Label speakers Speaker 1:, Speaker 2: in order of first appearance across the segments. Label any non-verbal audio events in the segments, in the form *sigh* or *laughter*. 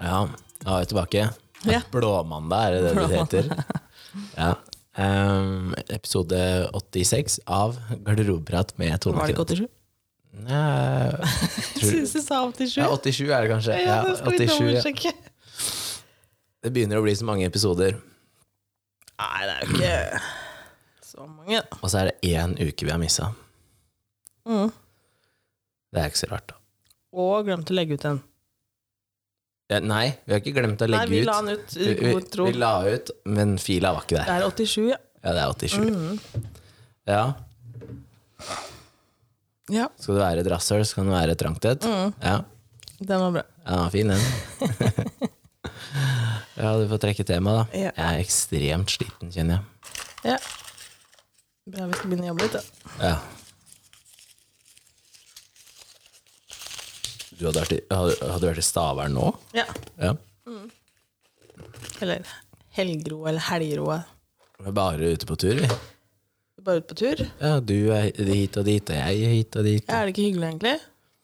Speaker 1: Ja, da er vi tilbake.
Speaker 2: Ja.
Speaker 1: *laughs* Blåmandag, er det det det
Speaker 2: Blåmandag.
Speaker 1: heter? Ja. Ehm, episode 86 av Garderobeprat med Tone
Speaker 2: Var det ikke 87?
Speaker 1: Nei,
Speaker 2: *laughs*
Speaker 1: tror-
Speaker 2: Synes du sa 87?
Speaker 1: Ja, 87 er det kanskje.
Speaker 2: Ja,
Speaker 1: Ja,
Speaker 2: det skal vi
Speaker 1: 87, ja.
Speaker 2: dobbeltsjekke.
Speaker 1: Det begynner å bli så mange episoder,
Speaker 2: Nei, det er jo ikke så mange.
Speaker 1: og så er det én uke vi har missa.
Speaker 2: Mm.
Speaker 1: Det er ikke så rart. da.
Speaker 2: Og glemte å legge ut en.
Speaker 1: Ja, Nei, vi har ikke glemt å
Speaker 2: Nei,
Speaker 1: legge
Speaker 2: vi
Speaker 1: ut.
Speaker 2: la den ut i
Speaker 1: Vi- vi,
Speaker 2: god tro.
Speaker 1: vi la ut, men fila var ikke
Speaker 2: Det
Speaker 1: der.
Speaker 2: er 87, ja.
Speaker 1: Ja, det er 87.
Speaker 2: Mm.
Speaker 1: Ja.
Speaker 2: Ja,
Speaker 1: Skal du være et rasshøl, så kan du være et trangt et.
Speaker 2: mm.
Speaker 1: Ja.
Speaker 2: den var bra.
Speaker 1: Ja, den var fin
Speaker 2: *laughs*
Speaker 1: den. ja, du får trekke tema da.
Speaker 2: Ja.
Speaker 1: Jeg er ekstremt sliten, kjenner jeg.
Speaker 2: Ja. Bra vi skal begynne å jobbe litt, da.
Speaker 1: Ja. Du hadde vært i, hadde, hadde du vært i Stavern nå?
Speaker 2: Ja.
Speaker 1: Ja.
Speaker 2: Eller helgro eller helgeroa.
Speaker 1: Vi er bare ute på tur, vi.
Speaker 2: Bare ut på tur.
Speaker 1: Ja, du er hit og dit, og jeg er hit og dit.
Speaker 2: Ja, er det ikke hyggelig, egentlig?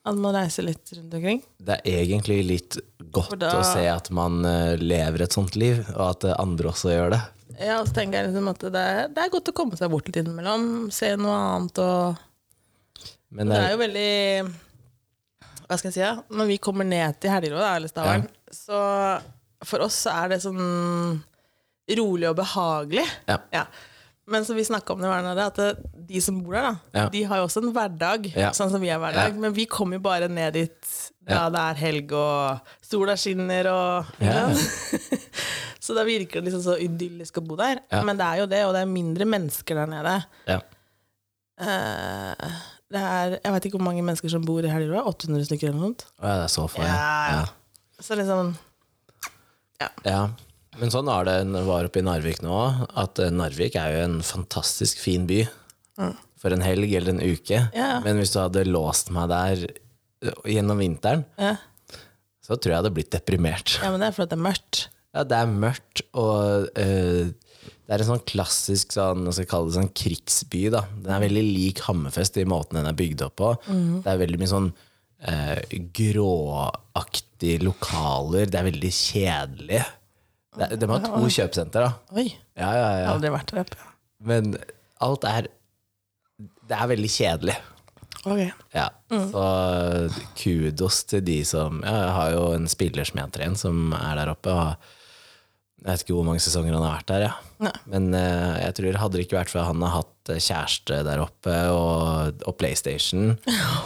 Speaker 2: At man reiser litt rundt omkring?
Speaker 1: Det er egentlig litt
Speaker 2: For
Speaker 1: godt
Speaker 2: da-
Speaker 1: å se at man eh, lever et sånt liv, og at eh, andre også gjør det.
Speaker 2: Ja, og så tenker jeg liksom at det er, det er godt å komme seg bort litt innimellom. Se noe annet og
Speaker 1: Men
Speaker 2: Det
Speaker 1: det
Speaker 2: er
Speaker 1: er,
Speaker 2: jo veldig Hva skal jeg si? Ja? Når vi kommer ned til Helgerå, da, eller Stavern, så for oss så er det sånn rolig og behagelig.
Speaker 1: Ja.
Speaker 2: Men som vi snakka om det var nede, at det, de som bor der, da,
Speaker 1: Ja.
Speaker 2: de har jo også en hverdag,
Speaker 1: Ja.
Speaker 2: sånn som vi har hverdag. Men vi kommer jo bare ned dit da det er helg og sola skinner og ikke
Speaker 1: Ja.
Speaker 2: sant? *laughs* Så da virker det liksom så idyllisk å bo der.
Speaker 1: Ja.
Speaker 2: Men det er jo det, og det er mindre mennesker der nede.
Speaker 1: ja.
Speaker 2: Eh, det er, jeg vet ikke hvor mange mennesker som bor i Helgerud. 800 stykker eller noe sånt.
Speaker 1: Å, ja, det er så farlig.
Speaker 2: Ja. Så liksom
Speaker 1: Ja, men sånn var det når jeg var oppe i Narvik nå, at eh, Narvik er jo en fantastisk fin by for en helg eller en uke.
Speaker 2: Ja.
Speaker 1: Men hvis du hadde låst meg der eh, gjennom vinteren,
Speaker 2: ja.
Speaker 1: så tror jeg jeg hadde blitt deprimert.
Speaker 2: ja, men det er fordi det er mørkt.
Speaker 1: Ja, det er mørkt, og eh, det er en sånn klassisk sånn, hva skal jeg kalle det, sånn krigsby. Da. Den er veldig lik Hammerfest i måten den er bygd opp på. Det er veldig mye sånn eh, gråaktige lokaler. Det er veldig kjedelig. Det, de har to kjøpesenter, da.
Speaker 2: Oi.
Speaker 1: Ja, ja,
Speaker 2: Jeg
Speaker 1: ja.
Speaker 2: har aldri vært der oppe.
Speaker 1: Men alt er Det er veldig kjedelig.
Speaker 2: Ok.
Speaker 1: Ja. Så kudos til de som ja, Jeg har jo en spiller som jeg har trent, som er der oppe. Og jeg vet ikke hvor mange sesonger han har vært der, ja.
Speaker 2: Nei.
Speaker 1: men eh, jeg tror hadde det ikke vært for at han har hatt eh, kjæreste der oppe, og, og PlayStation,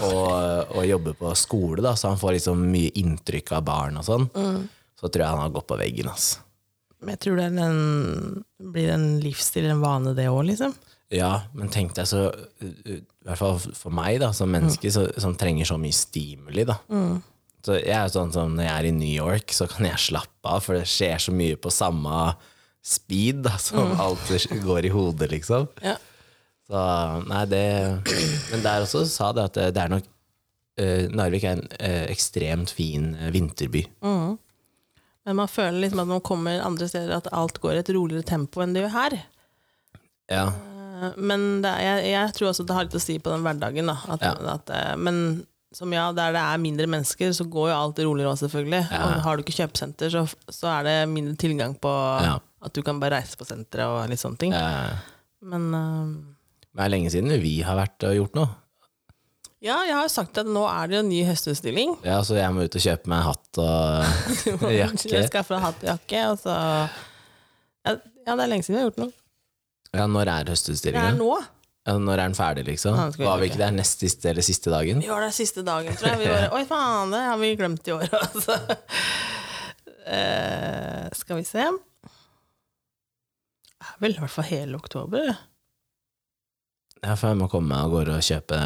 Speaker 1: og, og jobber på skole, da, så han får liksom mye inntrykk av barn og sånn, så tror jeg han har gått på veggen. altså. ass.
Speaker 2: Men jeg tror det er en, blir en livsstil, en vane, det òg, liksom.
Speaker 1: Ja, men tenk deg så I hvert fall for meg, da, som menneske så, som trenger så mye stimuli, da. Så jeg er jo sånn som når jeg er i New York, så kan jeg slappe av, for det skjer så mye på samme speed da, som alt går i hodet, liksom.
Speaker 2: Ja.
Speaker 1: Så nei, det Men der også sa det at det, det er nok eh, Narvik er en eh, ekstremt fin eh, vinterby.
Speaker 2: Men man føler liksom at når man kommer andre steder, at alt går i et roligere tempo enn det gjør her.
Speaker 1: Ja.
Speaker 2: Eh, Men det er, jeg, jeg tror også det har litt å si på den hverdagen. Da, at,
Speaker 1: Ja.
Speaker 2: at, eh, men som ja, der det er mindre mennesker, så går jo alt roligere òg, selvfølgelig. Og har du ikke kjøpesenter, så, så er det mindre tilgang på
Speaker 1: Ja.
Speaker 2: at du kan bare reise på senteret og litt sånne ting.
Speaker 1: Eh,
Speaker 2: Men eh,
Speaker 1: det er lenge siden vi har vært og gjort noe.
Speaker 2: ja, jeg har jo sagt at nå er det jo en ny høstutstilling. *laughs*
Speaker 1: Ja, Så jeg må ut og kjøpe meg hatt og jakke.
Speaker 2: Jeg skaffer en hatt og jakke, og så ja, ja, det er lenge siden jeg har gjort noe.
Speaker 1: Ja, når er
Speaker 2: Det er
Speaker 1: høstutstillingen?
Speaker 2: nå.
Speaker 1: Ja, når er den ferdig, liksom?
Speaker 2: Ja, den skal vi
Speaker 1: Var vi
Speaker 2: bruke.
Speaker 1: ikke der nest siste eller siste dagen?
Speaker 2: Vi var der siste dagen, tror jeg. *laughs* Vi bare, Oi, faen, det har vi glemt i år, *laughs* altså. Eh, skal vi se. Det er vel i hvert fall hele oktober.
Speaker 1: Ja, for jeg må komme meg av gårde og kjøpe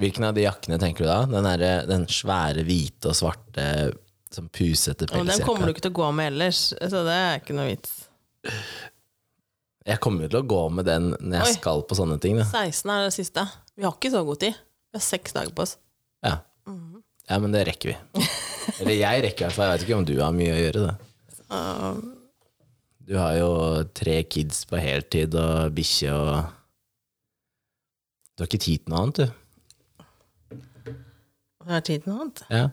Speaker 1: Hvilken av de jakkene tenker du da? Den, derre- den svære hvite og svarte som pusete
Speaker 2: Og den kommer du
Speaker 1: pelsjakka?
Speaker 2: ikke til å gå med ellers, så det er ikke noe vits.
Speaker 1: Jeg kommer jo til å gå med den når jeg
Speaker 2: Oi.
Speaker 1: skal på sånne ting. Da.
Speaker 2: 16 er det siste. Vi har ikke så god tid. Vi har seks dager på oss.
Speaker 1: Ja.
Speaker 2: Mhm.
Speaker 1: ja, men det rekker
Speaker 2: *laughs*
Speaker 1: vi. Eller jeg rekker i hvert fall. Jeg vet ikke om du har mye å gjøre, da.
Speaker 2: Eh,
Speaker 1: Du har jo tre kids på heltid og bikkje og Du har ikke tid til noe annet, du.
Speaker 2: Vi har tid til noe annet.
Speaker 1: Ja.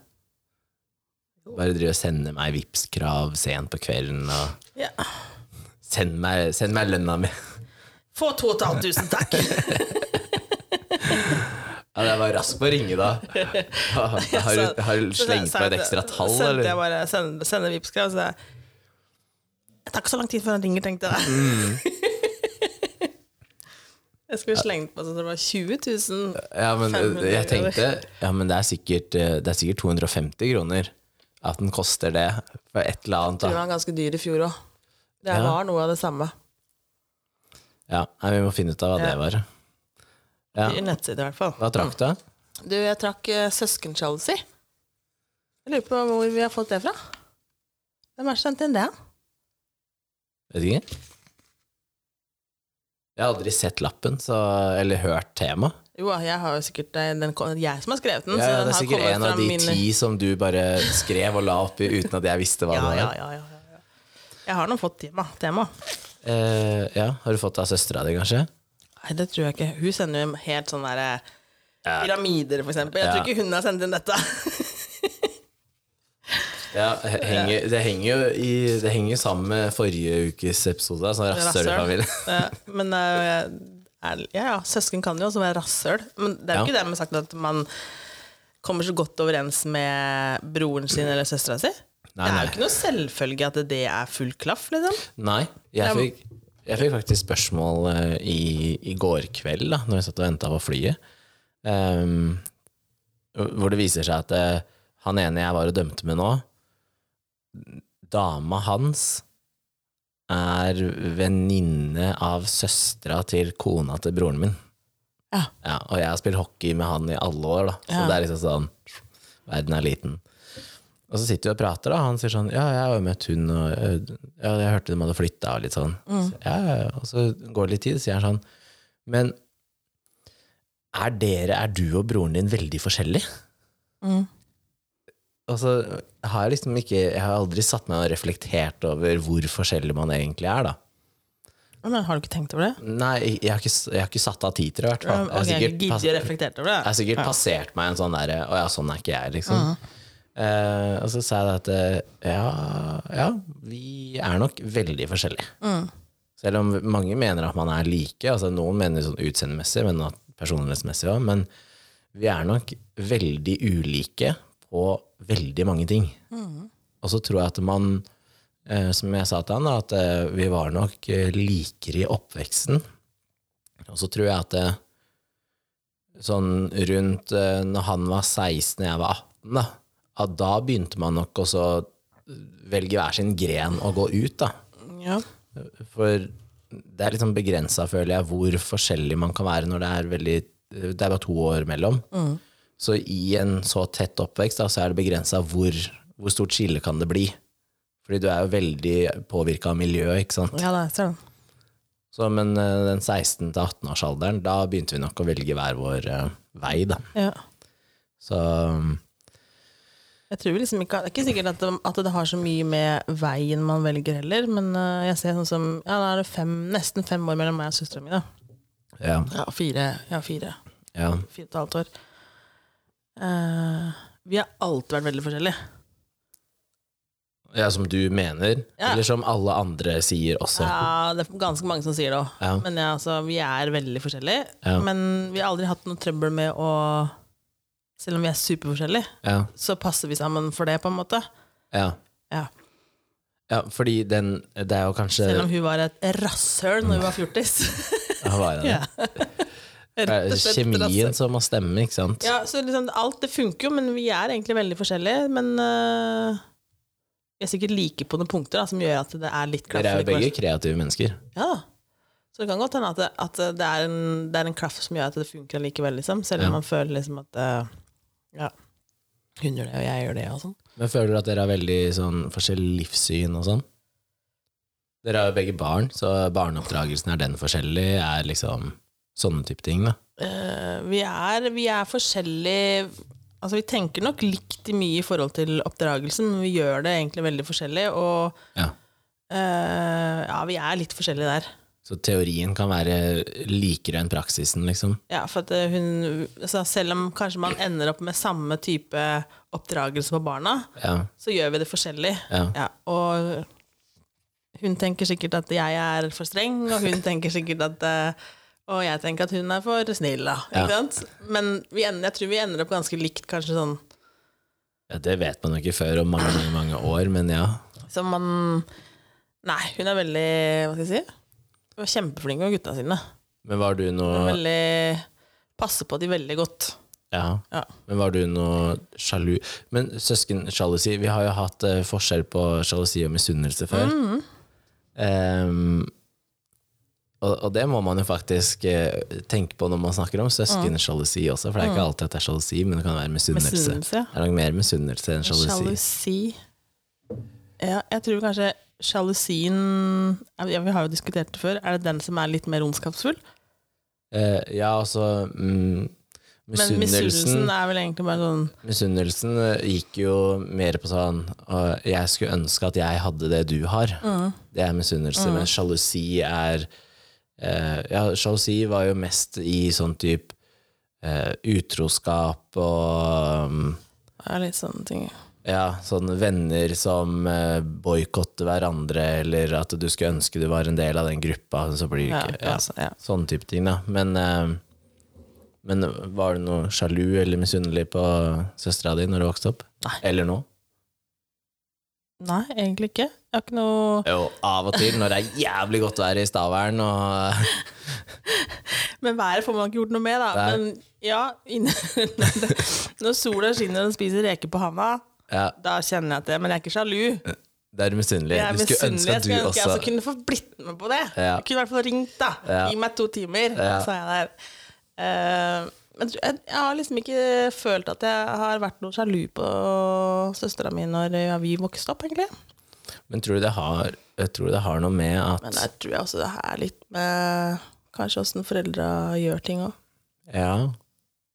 Speaker 1: Bare driver og sender meg Vipps-krav sent på kvelden. Og
Speaker 2: Ja.
Speaker 1: send meg, send meg lønna mi!
Speaker 2: Få 2500, takk!
Speaker 1: Ja, jeg var rask på å ringe
Speaker 2: *laughs*
Speaker 1: da. Har, har, du- har du
Speaker 2: Så
Speaker 1: slengt på
Speaker 2: sendte-
Speaker 1: et ekstra tall,
Speaker 2: sendte
Speaker 1: eller?
Speaker 2: Jeg bare send, sender Vipps-krav, så jeg Det tar ikke så lang tid før han ringer, tenkte jeg.
Speaker 1: Mm.
Speaker 2: jeg skulle slengt på sånn at det var 20 000.
Speaker 1: Ja, men eh,
Speaker 2: 500
Speaker 1: jeg tenkte ja, men det, er sikkert, eh, det er sikkert 250 kroner at den koster det for et eller annet.
Speaker 2: Den
Speaker 1: Da.
Speaker 2: var ganske dyr i fjor òg. Det
Speaker 1: Ja.
Speaker 2: var noe av det samme.
Speaker 1: Ja, nei, Vi må finne ut av hva det var. Ja.
Speaker 2: I nettside, i hvert fall.
Speaker 1: Hva trakk du?
Speaker 2: Du, jeg trakk uh, søskenskjoldet si. Jeg lurer på hvor vi har fått det fra. Hvem er det som sendte inn det?
Speaker 1: Vet ikke. Jeg har aldri sett lappen så, eller hørt tema.
Speaker 2: Jo, jeg har jo sikkert det er den, kom- jeg som har skrevet den.
Speaker 1: Ja,
Speaker 2: så
Speaker 1: ja, det
Speaker 2: den
Speaker 1: er
Speaker 2: har
Speaker 1: sikkert
Speaker 2: kommet
Speaker 1: en av
Speaker 2: fra
Speaker 1: de
Speaker 2: min-
Speaker 1: ti som du bare skrev og la oppi uten at jeg visste hva
Speaker 2: ja,
Speaker 1: det
Speaker 2: ja,
Speaker 1: var.
Speaker 2: ja, ja, ja, ja. Jeg har nå fått tema. tema.
Speaker 1: Eh, ja, Har du fått det av søstera di, kanskje?
Speaker 2: Nei, det tror jeg ikke. Hun sender jo helt sånne der, eh, pyramider, for eksempel. Jeg
Speaker 1: Ja.
Speaker 2: tror ikke hun har sendt inn dette.
Speaker 1: Ja, he- henger, det henger jo i, det henger jo sammen med forrige ukes episode. Sånn rasshølfamilie.
Speaker 2: *laughs* Ja, men eh, er, ja, ja, søsken kan jo også være rasshøl. Men det er
Speaker 1: Ja.
Speaker 2: jo ikke dermed sagt at man kommer så godt overens med broren sin eller søstera si.
Speaker 1: *laughs* Nei,
Speaker 2: det er
Speaker 1: nei.
Speaker 2: jo ikke noe selvfølge at det er full klaff, liksom.
Speaker 1: Nei, jeg fikk, jeg fikk faktisk spørsmål eh, i, i går kveld, da når jeg satt og venta på flyet, ehm, hvor det viser seg at eh, han ene jeg var og dømte med nå, dama hans er venninne av søstera til kona til broren min.
Speaker 2: Ja.
Speaker 1: og jeg har spilt hockey med han i alle år, da. Så
Speaker 2: Ja.
Speaker 1: det er liksom sånn Verden er liten. Og så sitter vi og prater, da. Han sier sånn Ja, jeg har jo møtt hun, og øh, ja, jeg hørte de hadde flytta og litt sånn.
Speaker 2: Mm.
Speaker 1: Så, ja, ja, ja. Og så går det litt tid, så sier han sånn Men er dere, er du og broren din veldig forskjellige?
Speaker 2: Mm.
Speaker 1: Og så Altså, har jeg liksom ikke Jeg har aldri satt meg og reflektert over hvor forskjellig man egentlig er, da.
Speaker 2: Men har du ikke tenkt over det?
Speaker 1: Nei, jeg har ikke, jeg har ikke satt av tid til det, i hvert fall.
Speaker 2: Ok, jeg
Speaker 1: Jeg har sikkert
Speaker 2: gidder
Speaker 1: pass-
Speaker 2: jeg reflektert over det.
Speaker 1: jeg har sikkert passert meg en sånn derre Å ja, sånn er ikke jeg, liksom. Eh, og så sa jeg da at eh, ja, ja, vi er nok veldig forskjellige. Selv om mange mener at man er like. Altså noen mener sånn utseendemessig, men at personlighetsmessig òg. Men vi er nok veldig ulike på veldig mange ting. Og så tror jeg at man, eh, som jeg sa til han, da, at eh, vi var nok eh, likere i oppveksten. Og så tror jeg at eh, sånn rundt eh, når han var 16 og jeg var 18, da, at da begynte man nok også å velge hver sin gren og gå ut, da.
Speaker 2: Ja.
Speaker 1: For det er litt sånn begrensa, føler jeg, hvor forskjellig man kan være når det er veldig Det er bare to år mellom. Så i en så tett oppvekst, da, så er det begrensa hvor, hvor stort skille kan det bli. Fordi du er jo veldig påvirka av miljøet, ikke sant.
Speaker 2: ja, da, jeg ser det. sånn.
Speaker 1: Så, men eh, den 16- til 18-årsalderen, da begynte vi nok å velge hver vår eh, vei, da.
Speaker 2: Ja.
Speaker 1: Så
Speaker 2: Jeg tror liksom ikke, Det er ikke sikkert at det, at det har så mye med veien man velger heller, men øh, jeg ser sånn som Ja, da er det fem, nesten fem år mellom meg og søstera mi, da.
Speaker 1: ja.
Speaker 2: Ja, fire. Ja, fire.
Speaker 1: Ja,
Speaker 2: Fire og et halvt år. Eh, vi har alltid vært veldig forskjellige.
Speaker 1: ja som du mener,
Speaker 2: Ja.
Speaker 1: eller som alle andre sier også.
Speaker 2: Ja, det er ganske mange som sier det òg.
Speaker 1: Ja.
Speaker 2: Men ja, altså, vi er veldig forskjellige.
Speaker 1: Ja.
Speaker 2: Men vi har aldri hatt noe trøbbel med å Selv om vi er superforskjellige,
Speaker 1: Ja,
Speaker 2: så passer vi sammen for det, på en måte.
Speaker 1: ja.
Speaker 2: Ja.
Speaker 1: ja fordi den Det er jo kanskje
Speaker 2: Selv
Speaker 1: *laughs*
Speaker 2: om hun var et rasshøl når hun var fjortis. *laughs*
Speaker 1: Ja, hva er det?
Speaker 2: ja.
Speaker 1: Det er Kjemien som må stemme, ikke sant?
Speaker 2: Ja, så liksom, alt det funker jo, men vi er egentlig veldig forskjellige. Men øh, vi er sikkert like på noen punkter da, som gjør at det er litt klaff.
Speaker 1: Dere er jo
Speaker 2: likevel.
Speaker 1: begge kreative mennesker.
Speaker 2: Ja. Så det kan godt hende at, det, at det, er en, det er en klaff som gjør at det funker likevel, liksom. Selv om
Speaker 1: Ja.
Speaker 2: man føler liksom at øh, ja, hun gjør det, og jeg gjør det, og sånn.
Speaker 1: Men føler du at dere har veldig sånn forskjellig livssyn og sånn? Dere har jo begge barn, så barneoppdragelsen er den forskjellig, er liksom sånne type ting, da.
Speaker 2: Eh, vi, er, vi er forskjellige Altså, vi tenker nok likt i mye i forhold til oppdragelsen, men vi gjør det egentlig veldig forskjellig, og
Speaker 1: Ja.
Speaker 2: eh, ja, vi er litt forskjellige der.
Speaker 1: Så teorien kan være likere enn praksisen, liksom.
Speaker 2: Ja, for at eh, hun, altså selv om kanskje man ender opp med samme type oppdragelse på barna,
Speaker 1: Ja,
Speaker 2: så gjør vi det forskjellig.
Speaker 1: ja.
Speaker 2: Ja, og hun tenker sikkert at jeg er for streng, og hun tenker sikkert at eh, Og jeg tenker at hun er for snill, da.
Speaker 1: Ja.
Speaker 2: Ikke sant? Men vi ender, jeg tror vi ender opp ganske likt, kanskje sånn
Speaker 1: ja Det vet man jo ikke før om mange, mange, mange år, men ja.
Speaker 2: som man Nei, hun er veldig Hva skal jeg si? Hun er kjempeflink med gutta sine.
Speaker 1: Men var du
Speaker 2: Hun er
Speaker 1: noe
Speaker 2: veldig Passer på de veldig godt.
Speaker 1: Ja.
Speaker 2: Ja.
Speaker 1: Men var du noe sjalu? Men søskensjalusi Vi har jo hatt eh, forskjell på sjalusi og misunnelse før.
Speaker 2: Mm.
Speaker 1: Ehm, og, og det må man jo faktisk eh, tenke på når man snakker om søskensjalusi også, for det er ikke alltid at det er sjalusi, men det kan være misunnelse.
Speaker 2: Mm. Misunnelse, ja.
Speaker 1: Det er nok mer misunnelse enn sjalusi.
Speaker 2: Sjalusi Ja, jeg tror kanskje sjalusien ja, Vi har jo diskutert det før. Er det den som er litt mer ondskapsfull?
Speaker 1: Eh, ja, altså mm,
Speaker 2: Men misunnelsen er vel egentlig bare sånn
Speaker 1: Misunnelsen eh, gikk jo mer på sånn «Å, Jeg skulle ønske at jeg hadde det du har.
Speaker 2: Mm.
Speaker 1: Det er misunnelse. Men sjalusi er eh, Ja, sjalusi var jo mest i sånn type eh, utroskap og mm,
Speaker 2: er litt sånne ting.
Speaker 1: ja, sånn venner som uh, boikotter hverandre, eller at du skulle ønske du var en del av den gruppa. Så blir det
Speaker 2: Ja,
Speaker 1: ikke
Speaker 2: ja.
Speaker 1: ja,
Speaker 2: Altså, ja.
Speaker 1: Sånne type ting, da. Men, eh, men var du noe sjalu eller misunnelig på søstera di når du vokste opp?
Speaker 2: Nei.
Speaker 1: Eller nå?
Speaker 2: Nei, egentlig ikke. Jeg har ikke noe
Speaker 1: Jo, av og til når det er jævlig godt vær i Stavern og
Speaker 2: Men været får man ikke gjort noe med, da.
Speaker 1: Nei.
Speaker 2: Men ja, inne, *laughs* når sola skinner og spiser reker på havna,
Speaker 1: ja,
Speaker 2: da kjenner jeg at det Men jeg er ikke sjalu.
Speaker 1: Det er misunnelig.
Speaker 2: Jeg er
Speaker 1: Du skulle ønske
Speaker 2: misunnelig. Jeg
Speaker 1: at du
Speaker 2: skulle ønske jeg også
Speaker 1: også
Speaker 2: kunne få blitt med på det.
Speaker 1: Ja.
Speaker 2: Jeg kunne i hvert fall ringt, da.
Speaker 1: Ja.
Speaker 2: Gi meg to timer,
Speaker 1: Ja.
Speaker 2: så er jeg der. Eh, men jeg, jeg har liksom ikke følt at jeg har vært noe sjalu på søstera mi når eh, vi vokste opp, egentlig.
Speaker 1: Men tror du det har, jeg tror det har noe med
Speaker 2: Men
Speaker 1: at
Speaker 2: der tror jeg også det er litt med kanskje åssen foreldra gjør ting òg.
Speaker 1: Ja.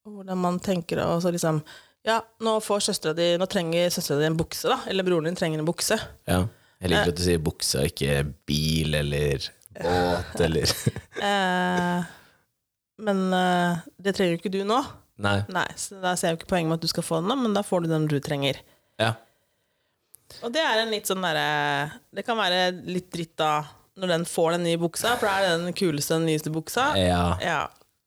Speaker 2: Og hvordan man tenker og så liksom Ja, nå får søstera di Nå trenger søstera di en bukse, da. Eller broren din trenger en bukse.
Speaker 1: ja. Jeg liker at du sier bukse og ikke bil eller
Speaker 2: *laughs*
Speaker 1: båt eller
Speaker 2: Eh, men eh, det trenger jo ikke du nå.
Speaker 1: Nei.
Speaker 2: Nei, så da ser jeg jo ikke poenget med at du skal få den, da, men da får du den du trenger.
Speaker 1: Ja.
Speaker 2: Og det er en litt sånn derre Det kan være litt dritt da når den får den nye buksa, for da er det den kuleste, den nyeste buksa.
Speaker 1: Ja.
Speaker 2: Ja.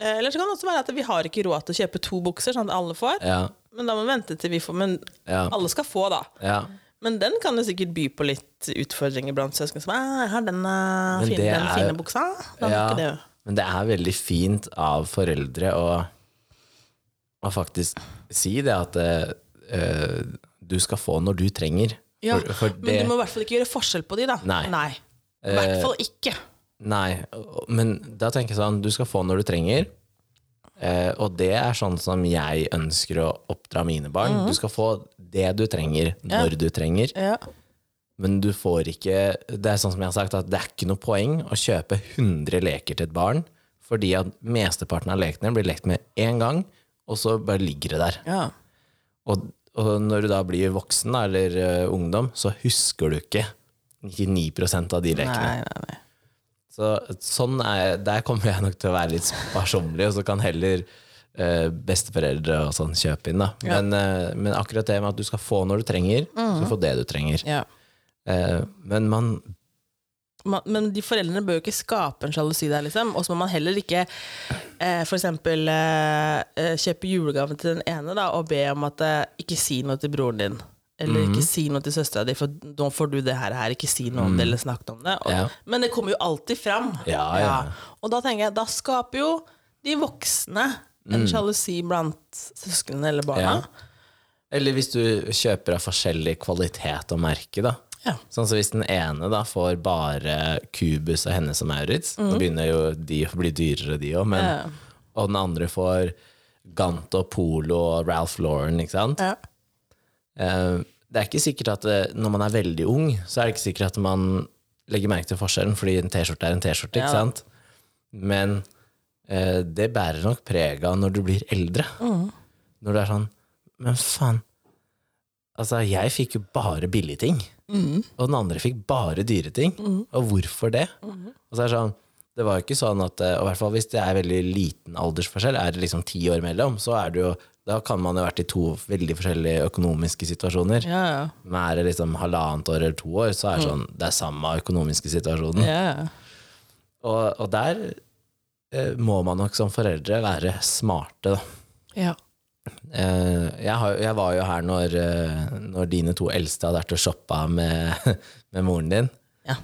Speaker 2: Eh, Eller så kan det også være at vi har ikke råd til å kjøpe to bukser, sånn at alle får.
Speaker 1: Ja.
Speaker 2: Men da må vi vente til vi får Men
Speaker 1: Ja.
Speaker 2: alle skal få, da.
Speaker 1: ja.
Speaker 2: Men den kan jo sikkert by på litt utfordringer blant søsken. Som «Ah, 'Jeg har den eh,
Speaker 1: Men
Speaker 2: fine,
Speaker 1: det
Speaker 2: den
Speaker 1: er
Speaker 2: fine
Speaker 1: jo-
Speaker 2: buksa'. Da
Speaker 1: ja.
Speaker 2: ja. ikke det. jo.
Speaker 1: Men det er veldig fint av foreldre å, å faktisk si det at eh, du skal få når du trenger.
Speaker 2: Ja,
Speaker 1: For- for
Speaker 2: Men du må i hvert fall ikke gjøre forskjell på de, da.
Speaker 1: Nei. Eh,
Speaker 2: I hvert fall ikke.
Speaker 1: Nei, og- men da tenker jeg sånn Du skal få når du trenger. Eh, og det er sånn som jeg ønsker å oppdra mine barn. Du skal få det du trenger, når du trenger.
Speaker 2: Mhm. Ja.
Speaker 1: Men du får ikke Det er sånn som jeg har sagt, at det er ikke noe poeng å kjøpe 100 leker til et barn, fordi at mesteparten av lekene blir lekt med én gang, og så bare ligger det der.
Speaker 2: Ja.
Speaker 1: Og, og når du da blir voksen da, eller eh, ungdom, så husker du ikke 99 av de lekene.
Speaker 2: Nei, nei, nei.
Speaker 1: Så sånn er, der kommer jeg nok til å være litt sparsommelig, og så kan heller eh, besteforeldre og sånn kjøpe inn. Da.
Speaker 2: Ja. Mm.
Speaker 1: Men, eh, men akkurat det med at du skal få når du trenger, så du får det du trenger.
Speaker 2: Ja.
Speaker 1: Eh, men man
Speaker 2: man, men de foreldrene bør jo ikke skape en sjalusi der, liksom. Og så må man heller ikke eh, for eksempel eh, eh, kjøpe julegaven til den ene da, og be om at eh, ikke si noe til broren din. Eller
Speaker 1: Mhm.
Speaker 2: ikke si noe til søstera di, for nå får du det her, her. Ikke si noe om det, eller snakk om det. Og,
Speaker 1: Ja.
Speaker 2: Men det kommer jo alltid fram.
Speaker 1: Ja, ja.
Speaker 2: Og da tenker jeg, da skaper jo de voksne
Speaker 1: Mhm.
Speaker 2: en sjalusi blant søsknene eller barna.
Speaker 1: Ja. Eller hvis du kjøper av forskjellig kvalitet og merke, da.
Speaker 2: Ja.
Speaker 1: Sånn så Hvis den ene da får bare Cubus og Hennes og Maurits, nå begynner jo de å bli dyrere, de òg, men
Speaker 2: Mm. Ja.
Speaker 1: Og den andre får Gant og Polo og Ralph Lauren, ikke sant?
Speaker 2: Ja.
Speaker 1: Eh, Det er ikke sikkert at eh, når man er veldig ung, så er det ikke sikkert at man legger merke til forskjellen, fordi en T-skjorte er en T-skjorte,
Speaker 2: Ja.
Speaker 1: ikke sant? Men eh, det bærer nok preg av når du blir eldre.
Speaker 2: Mm.
Speaker 1: Når du er sånn Men faen, altså, jeg fikk jo bare billige
Speaker 2: Mm. Mm.
Speaker 1: ting. Og den andre fikk bare dyre ting. Og hvorfor det? Og så er det sånn Det var jo ikke sånn at eh, og i hvert fall Hvis det er veldig liten aldersforskjell, er det liksom ti år mellom, så er det jo, da kan man jo vært i to veldig forskjellige økonomiske situasjoner.
Speaker 2: Ja, ja.
Speaker 1: Men er det liksom halvannet år eller to år, så er det sånn, det er samme økonomiske situasjonen.
Speaker 2: ja, ja.
Speaker 1: Og, og der eh, må man nok som foreldre være smarte, da.
Speaker 2: ja.
Speaker 1: Eh, jeg, har, jeg var jo her når, eh, når dine to eldste hadde vært og shoppa med, *laughs* med moren din.
Speaker 2: Ja.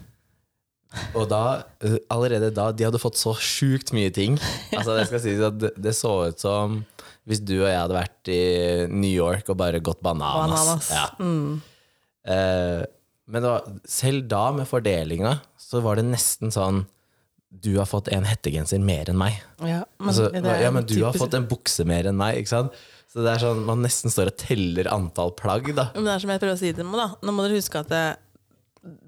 Speaker 1: Og da, eh, allerede da, de hadde fått så sjukt mye ting. Altså Det skal sies at det, det så ut som hvis du og jeg hadde vært i New York og bare gått bananas.
Speaker 2: Bananas.
Speaker 1: Ja.
Speaker 2: Mm.
Speaker 1: Eh, men det var, selv da, med fordelinga, så var det nesten sånn Du har fått en hettegenser mer enn meg.
Speaker 2: ja. Men,
Speaker 1: Altså,
Speaker 2: det
Speaker 1: hva-
Speaker 2: er
Speaker 1: ja, men du har
Speaker 2: typisk-
Speaker 1: fått en bukse mer enn meg, ikke sant? Så det er sånn, man nesten står og teller antall plagg, da.
Speaker 2: Men det er som jeg prøver å si til dem, da. Nå må dere huske at eh,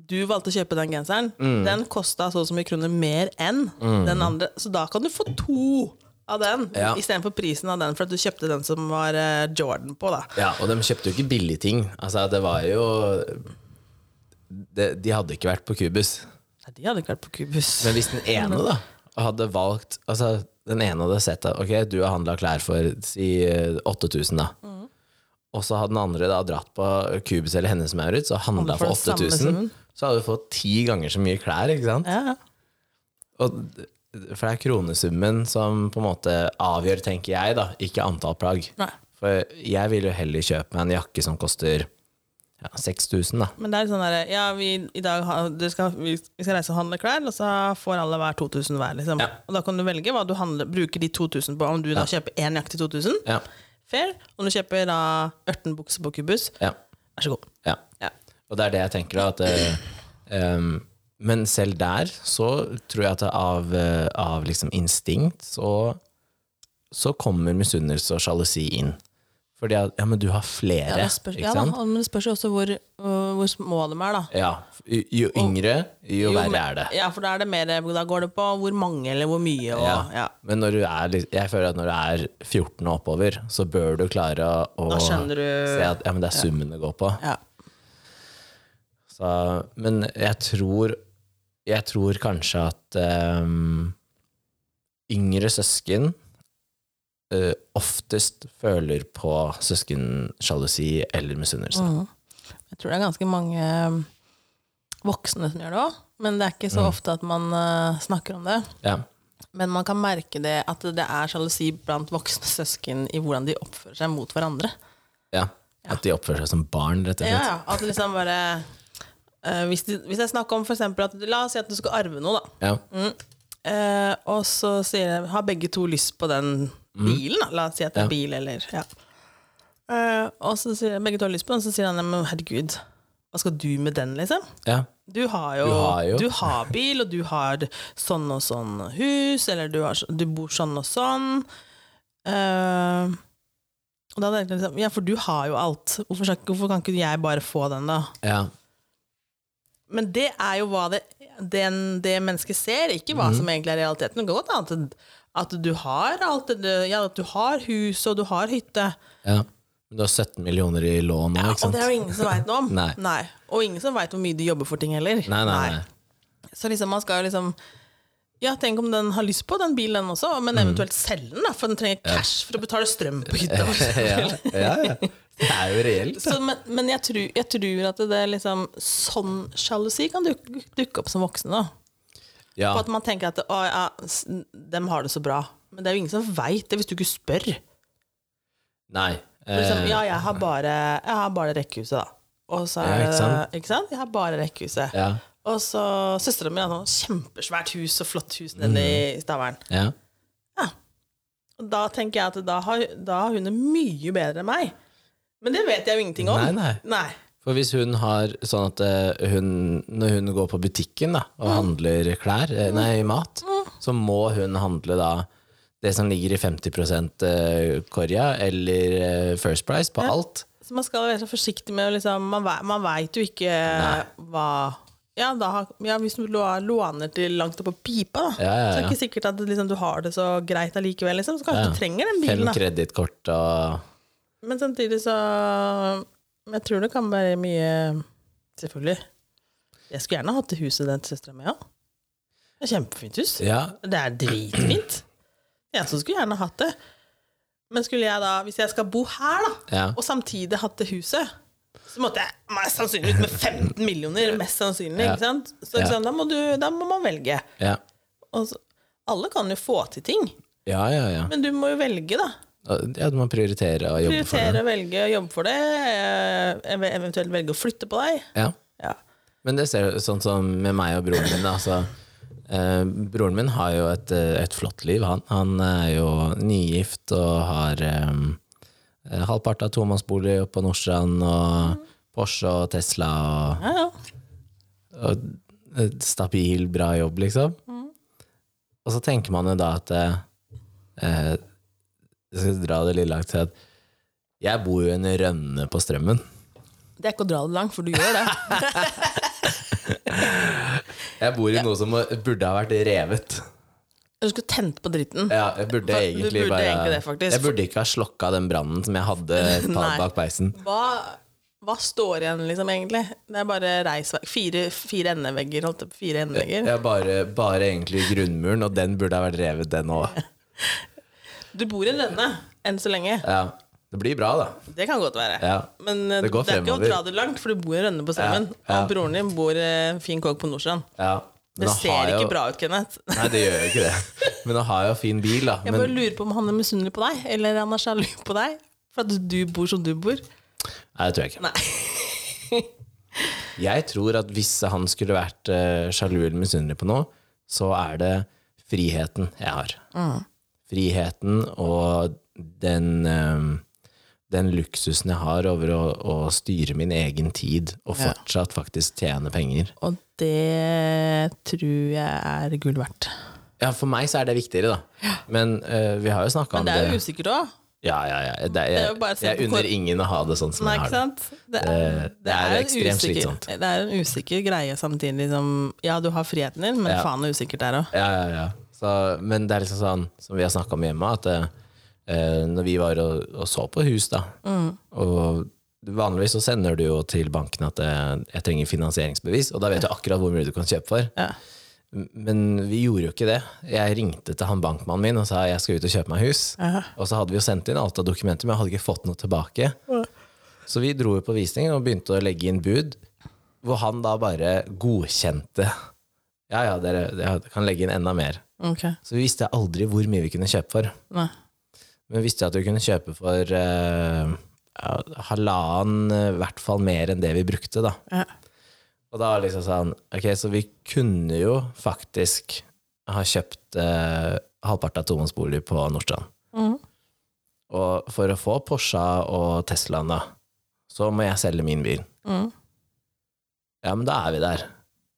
Speaker 2: du valgte å kjøpe den genseren.
Speaker 1: Mm.
Speaker 2: Den kosta så og så mye kroner mer enn den andre, så da kan du få to av den
Speaker 1: Ja.
Speaker 2: istedenfor prisen av den for at du kjøpte den som var eh, Jordan på, da.
Speaker 1: Ja, og de kjøpte jo ikke billige ting. Altså, det var jo... Det, de hadde ikke vært på Kubus.
Speaker 2: Nei, de hadde ikke vært på Kubus.
Speaker 1: Men hvis den ene da, hadde valgt... Altså, den ene hadde sett da, ok, du har handlet klær for, si, eh, 8000 da. Og så hadde den andre da dratt på Kubus eller hennes Maurits og handlet
Speaker 2: Handlet
Speaker 1: for
Speaker 2: for den samme
Speaker 1: 8000.
Speaker 2: summen.
Speaker 1: Så hadde du fått ti ganger så mye klær, ikke sant?
Speaker 2: Ja, ja.
Speaker 1: Og, for det er kronesummen som på en måte avgjør, tenker jeg, da, ikke antall plagg.
Speaker 2: Nei.
Speaker 1: For jeg vil jo heller kjøpe meg en jakke som koster ja, 6000, da.
Speaker 2: Men det er sånn derre Ja, vi, i dag har, dere skal, vi vi skal reise og handle klær, og så får alle hver 2000 hver, liksom.
Speaker 1: Ja.
Speaker 2: Og da kan du velge hva du handler, bruker de 2000 på. Om du da kjøper én jakke til 2000,
Speaker 1: Ja,
Speaker 2: fair. Om du kjøper da 18 bukser på Kubus,
Speaker 1: ja,
Speaker 2: vær så god.
Speaker 1: ja.
Speaker 2: Ja.
Speaker 1: Og det er det jeg tenker, da. At, eh, em, men selv der så tror jeg at det av, eh, av liksom instinkt så, så kommer misunnelse og sjalusi inn. Fordi at ja, men du har flere,
Speaker 2: det spørs,
Speaker 1: ikke
Speaker 2: ja, da,
Speaker 1: sant?
Speaker 2: men det spørs jo også hvor, øh, hvor små de er, da.
Speaker 1: Ja. Jo, jo yngre, jo,
Speaker 2: men-
Speaker 1: verre er det.
Speaker 2: Ja, for da, er det mer, da går det på hvor mange eller hvor mye. Og,
Speaker 1: Ja.
Speaker 2: ja.
Speaker 1: Men når du er, litt- jeg føler at når du er 14 og oppover, så bør du klare å
Speaker 2: Da skjønner du-
Speaker 1: se at ja, men det er summen det går på.
Speaker 2: Ja.
Speaker 1: Så, men jeg tror, jeg tror kanskje at ehm, yngre søsken eh, oftest føler på søskensjalusi eller misunnelse.
Speaker 2: Mhm. Jeg tror det er ganske mange øh, voksne som gjør det òg, men det er ikke
Speaker 1: Mm.
Speaker 2: så ofte at man øh, snakker om det.
Speaker 1: Ja.
Speaker 2: Men man kan merke det at det er sjalusi blant voksne søsken i hvordan de oppfører seg mot hverandre.
Speaker 1: ja. At de oppfører seg som barn, rett og
Speaker 2: Ja,
Speaker 1: slett.
Speaker 2: ja, at det liksom bare øh, hvis, de, hvis jeg snakker om for eksempel at La oss si at du skal arve noe, da.
Speaker 1: Ja.
Speaker 2: Mm. Eh, og så sier jeg, har begge to lyst på den bilen, da. La oss si at det er
Speaker 1: Mm. Ja.
Speaker 2: bil, eller ja. Eh, og så sier jeg, begge to har lyst på den, så sier han "Ja, men herregud, hva skal du med den, liksom?
Speaker 1: Ja.
Speaker 2: Du har jo,
Speaker 1: Du har jo.
Speaker 2: du har bil, og du har sånn og sånn hus, eller du, har, du bor sånn og sånn. Eh, og da tenkte jeg liksom, ja, for du har jo alt. Hvorfor, skal- hvorfor kan ikke jeg bare få den, da?
Speaker 1: ja.
Speaker 2: Men det er jo hva det, den, det mennesket ser, ikke
Speaker 1: Mhm.
Speaker 2: hva som egentlig er realiteten. Det kan godt hende at, at du har alt det du- ja, at du har hus og du har hytte.
Speaker 1: ja. Men du har 17 millioner i lån nå, ikke
Speaker 2: Og
Speaker 1: sant?
Speaker 2: det er jo ingen som veit noe om.
Speaker 1: *laughs* Nei.
Speaker 2: Og ingen som veit hvor mye du jobber for ting heller.
Speaker 1: Nei, nei, nei.
Speaker 2: Så liksom, man skal jo liksom ja, Tenk om den har lyst på den bilen, den også, men
Speaker 1: Mhm.
Speaker 2: eventuelt selge den, da, for den trenger cash for å betale strøm på hytta. *laughs* for
Speaker 1: *laughs* ja,
Speaker 2: eksempel.
Speaker 1: ja, ja. Det er jo reelt.
Speaker 2: Så, men men jeg, tror, jeg tror at det er liksom sånn sjalusi kan dukke, dukke opp som voksen. da
Speaker 1: Ja,
Speaker 2: På at man tenker at å, ja, s- dem har det så bra. Men det er jo ingen som veit det hvis du ikke spør.
Speaker 1: nei.
Speaker 2: For Liksom,
Speaker 1: eh,
Speaker 2: ja, jeg har bare, jeg har bare rekkehuset, da. Og så er
Speaker 1: Ja, ikke sant?
Speaker 2: det, ikke sant? Jeg har bare rekkehuset.
Speaker 1: ja,
Speaker 2: Og så søstera mi har sånn kjempesvært hus og flott hus nede
Speaker 1: Mm.
Speaker 2: i Stavern.
Speaker 1: ja.
Speaker 2: Og da tenker jeg at da har, da har hun det mye bedre enn meg. Men det vet jeg jo ingenting om.
Speaker 1: Nei, nei. For hvis hun har sånn at eh, hun, når hun går på butikken da,
Speaker 2: Mm.
Speaker 1: og handler klær, eh, nei, mat, så må hun handle da det som ligger i 50 eh, Korea eller eh, First Price på alt.
Speaker 2: Så man skal være så forsiktig med å liksom Man, ve- man veit jo ikke hva ja, da, har- ja, hvis du lå- låner til langt oppå pipa, da,
Speaker 1: Ja, ja,
Speaker 2: så er
Speaker 1: ja.
Speaker 2: det ikke sikkert at det liksom, du har det så greit allikevel. Liksom, så
Speaker 1: Ja.
Speaker 2: kanskje du trenger den
Speaker 1: Fem
Speaker 2: bilen. Da.
Speaker 1: kredittkort og
Speaker 2: Men samtidig så Jeg tror det kan være mye Selvfølgelig. Jeg skulle gjerne hatt det huset den til søstera mi òg. Det er kjempefint hus.
Speaker 1: Ja,
Speaker 2: Det er dritfint. Jeg som skulle gjerne hatt det. Men skulle jeg da, hvis jeg skal bo her, da,
Speaker 1: Ja.
Speaker 2: og samtidig hatt det huset, så måtte jeg mest sannsynlig ut med 15 millioner. Mest sannsynlig,
Speaker 1: Ja.
Speaker 2: ikke sant? Så ikke
Speaker 1: Ja.
Speaker 2: sant? Da, må du, da må man velge.
Speaker 1: ja.
Speaker 2: Og så, alle kan jo få til ting,
Speaker 1: Ja, ja, ja.
Speaker 2: men du må jo velge, da.
Speaker 1: Ja, du må prioritere å jobbe for det.
Speaker 2: Prioritere å velge å jobbe for det, eh, ev- eventuelt velge å flytte på deg.
Speaker 1: Ja.
Speaker 2: Ja.
Speaker 1: Men det ser du sånn som med meg og broren min. da, så, eh, broren min har jo et, eh, et flott liv. Han, han er jo nygift og har eh, halvparten av tomannsbolig oppe på Nordstrand. Og Porsche og Tesla og,
Speaker 2: Ja, ja.
Speaker 1: og et stabil, bra jobb, liksom. Og så tenker man jo da at eh, Jeg skal dra det litt langt til at jeg bor jo i en rønne på Strømmen.
Speaker 2: Det er ikke å dra det langt, for du gjør det.
Speaker 1: Jeg bor i noe som burde ha vært revet.
Speaker 2: *laughs* Du skulle tent på dritten.
Speaker 1: Ja, jeg burde
Speaker 2: Du
Speaker 1: egentlig
Speaker 2: burde
Speaker 1: bare
Speaker 2: egentlig det, faktisk.
Speaker 1: Jeg burde ikke ha slokka den brannen som jeg
Speaker 2: *laughs*
Speaker 1: hadde tatt
Speaker 2: Nei.
Speaker 1: bak peisen.
Speaker 2: Hva, hva står igjen, liksom, egentlig? Det er bare reisvegg. Fire, fire endevegger, holdt jeg på. Fire endevegger.
Speaker 1: Jeg bare, bare egentlig grunnmuren, og den burde ha vært revet, den òg.
Speaker 2: Du bor i en rønne, enn så lenge.
Speaker 1: Ja. Det blir bra, da.
Speaker 2: Det kan godt være.
Speaker 1: Ja.
Speaker 2: Men eh,
Speaker 1: Det
Speaker 2: det,
Speaker 1: går
Speaker 2: er ikke å
Speaker 1: fremover.
Speaker 2: dra det langt, for du bor i en rønne på Strømmen.
Speaker 1: Ja, ja.
Speaker 2: Og broren din bor eh, fin kåk på Nordstrand.
Speaker 1: Ja.
Speaker 2: Det ser ikke bra ut, Kenneth. *laughs*
Speaker 1: Nei, det gjør jo ikke det. Men nå har jeg jo fin bil, da.
Speaker 2: Jeg bare
Speaker 1: Men
Speaker 2: lurer på om han er misunnelig på deg, eller han er sjalu på deg. For at du bor som du bor.
Speaker 1: Nei, det tror jeg ikke.
Speaker 2: Nei.
Speaker 1: Jeg tror at hvis han skulle vært eh, sjalu eller misunnelig på noe, så er det friheten jeg har.
Speaker 2: Mm.
Speaker 1: Friheten og den, eh, den luksusen jeg har over å, å styre min egen tid, og fortsatt faktisk tjene penger.
Speaker 2: Og det tror jeg er gull verdt.
Speaker 1: Ja, For meg så er det viktigere, da. Men eh, vi har jo snakka om
Speaker 2: Men det
Speaker 1: det.
Speaker 2: er jo usikkert òg.
Speaker 1: Ja, ja, ja. Det, er-
Speaker 2: Det er jo bare å
Speaker 1: jeg
Speaker 2: se
Speaker 1: jeg
Speaker 2: på
Speaker 1: unner
Speaker 2: hvor-
Speaker 1: ingen å ha det sånn som
Speaker 2: Nei,
Speaker 1: jeg
Speaker 2: ikke
Speaker 1: har det.
Speaker 2: sant? Det
Speaker 1: Eh, det er
Speaker 2: en
Speaker 1: ekstremt
Speaker 2: usikker-
Speaker 1: slitsomt.
Speaker 2: Det er en usikker greie samtidig som Ja, du har friheten din, men
Speaker 1: Ja.
Speaker 2: faen det er usikkert der òg.
Speaker 1: Ja, ja, ja. Så, men det er liksom sånn som vi har snakka om hjemme, at eh, når vi var og, og så på hus, da Og vanligvis så sender du jo til banken at eh, jeg trenger finansieringsbevis, og da vet du akkurat hvor mye du kan kjøpe for.
Speaker 2: Ja.
Speaker 1: Men vi gjorde jo ikke det. Jeg ringte til han bankmannen min og sa jeg skal ut og kjøpe meg hus. Og så hadde vi jo sendt inn alt av dokumenter, men jeg hadde ikke fått noe tilbake. Så vi dro jo på visning og begynte å legge inn bud, hvor han da bare godkjente. Ja, ja, dere jeg kan legge inn enda mer.
Speaker 2: Ok.
Speaker 1: Så vi visste aldri hvor mye vi kunne kjøpe for.
Speaker 2: Nei.
Speaker 1: Men vi visste at vi kunne kjøpe for eh, ja, halvannen, eh, i hvert fall mer enn det vi brukte, da.
Speaker 2: Ja.
Speaker 1: Og da var det liksom sånn Ok, så vi kunne jo faktisk ha kjøpt eh, halvparten av tomannsbolig på Nordstrand.
Speaker 2: Mhm.
Speaker 1: Og for å få Porsche og Teslaen, da, så må jeg selge min bil.
Speaker 2: Mm.
Speaker 1: Ja, men da er vi der.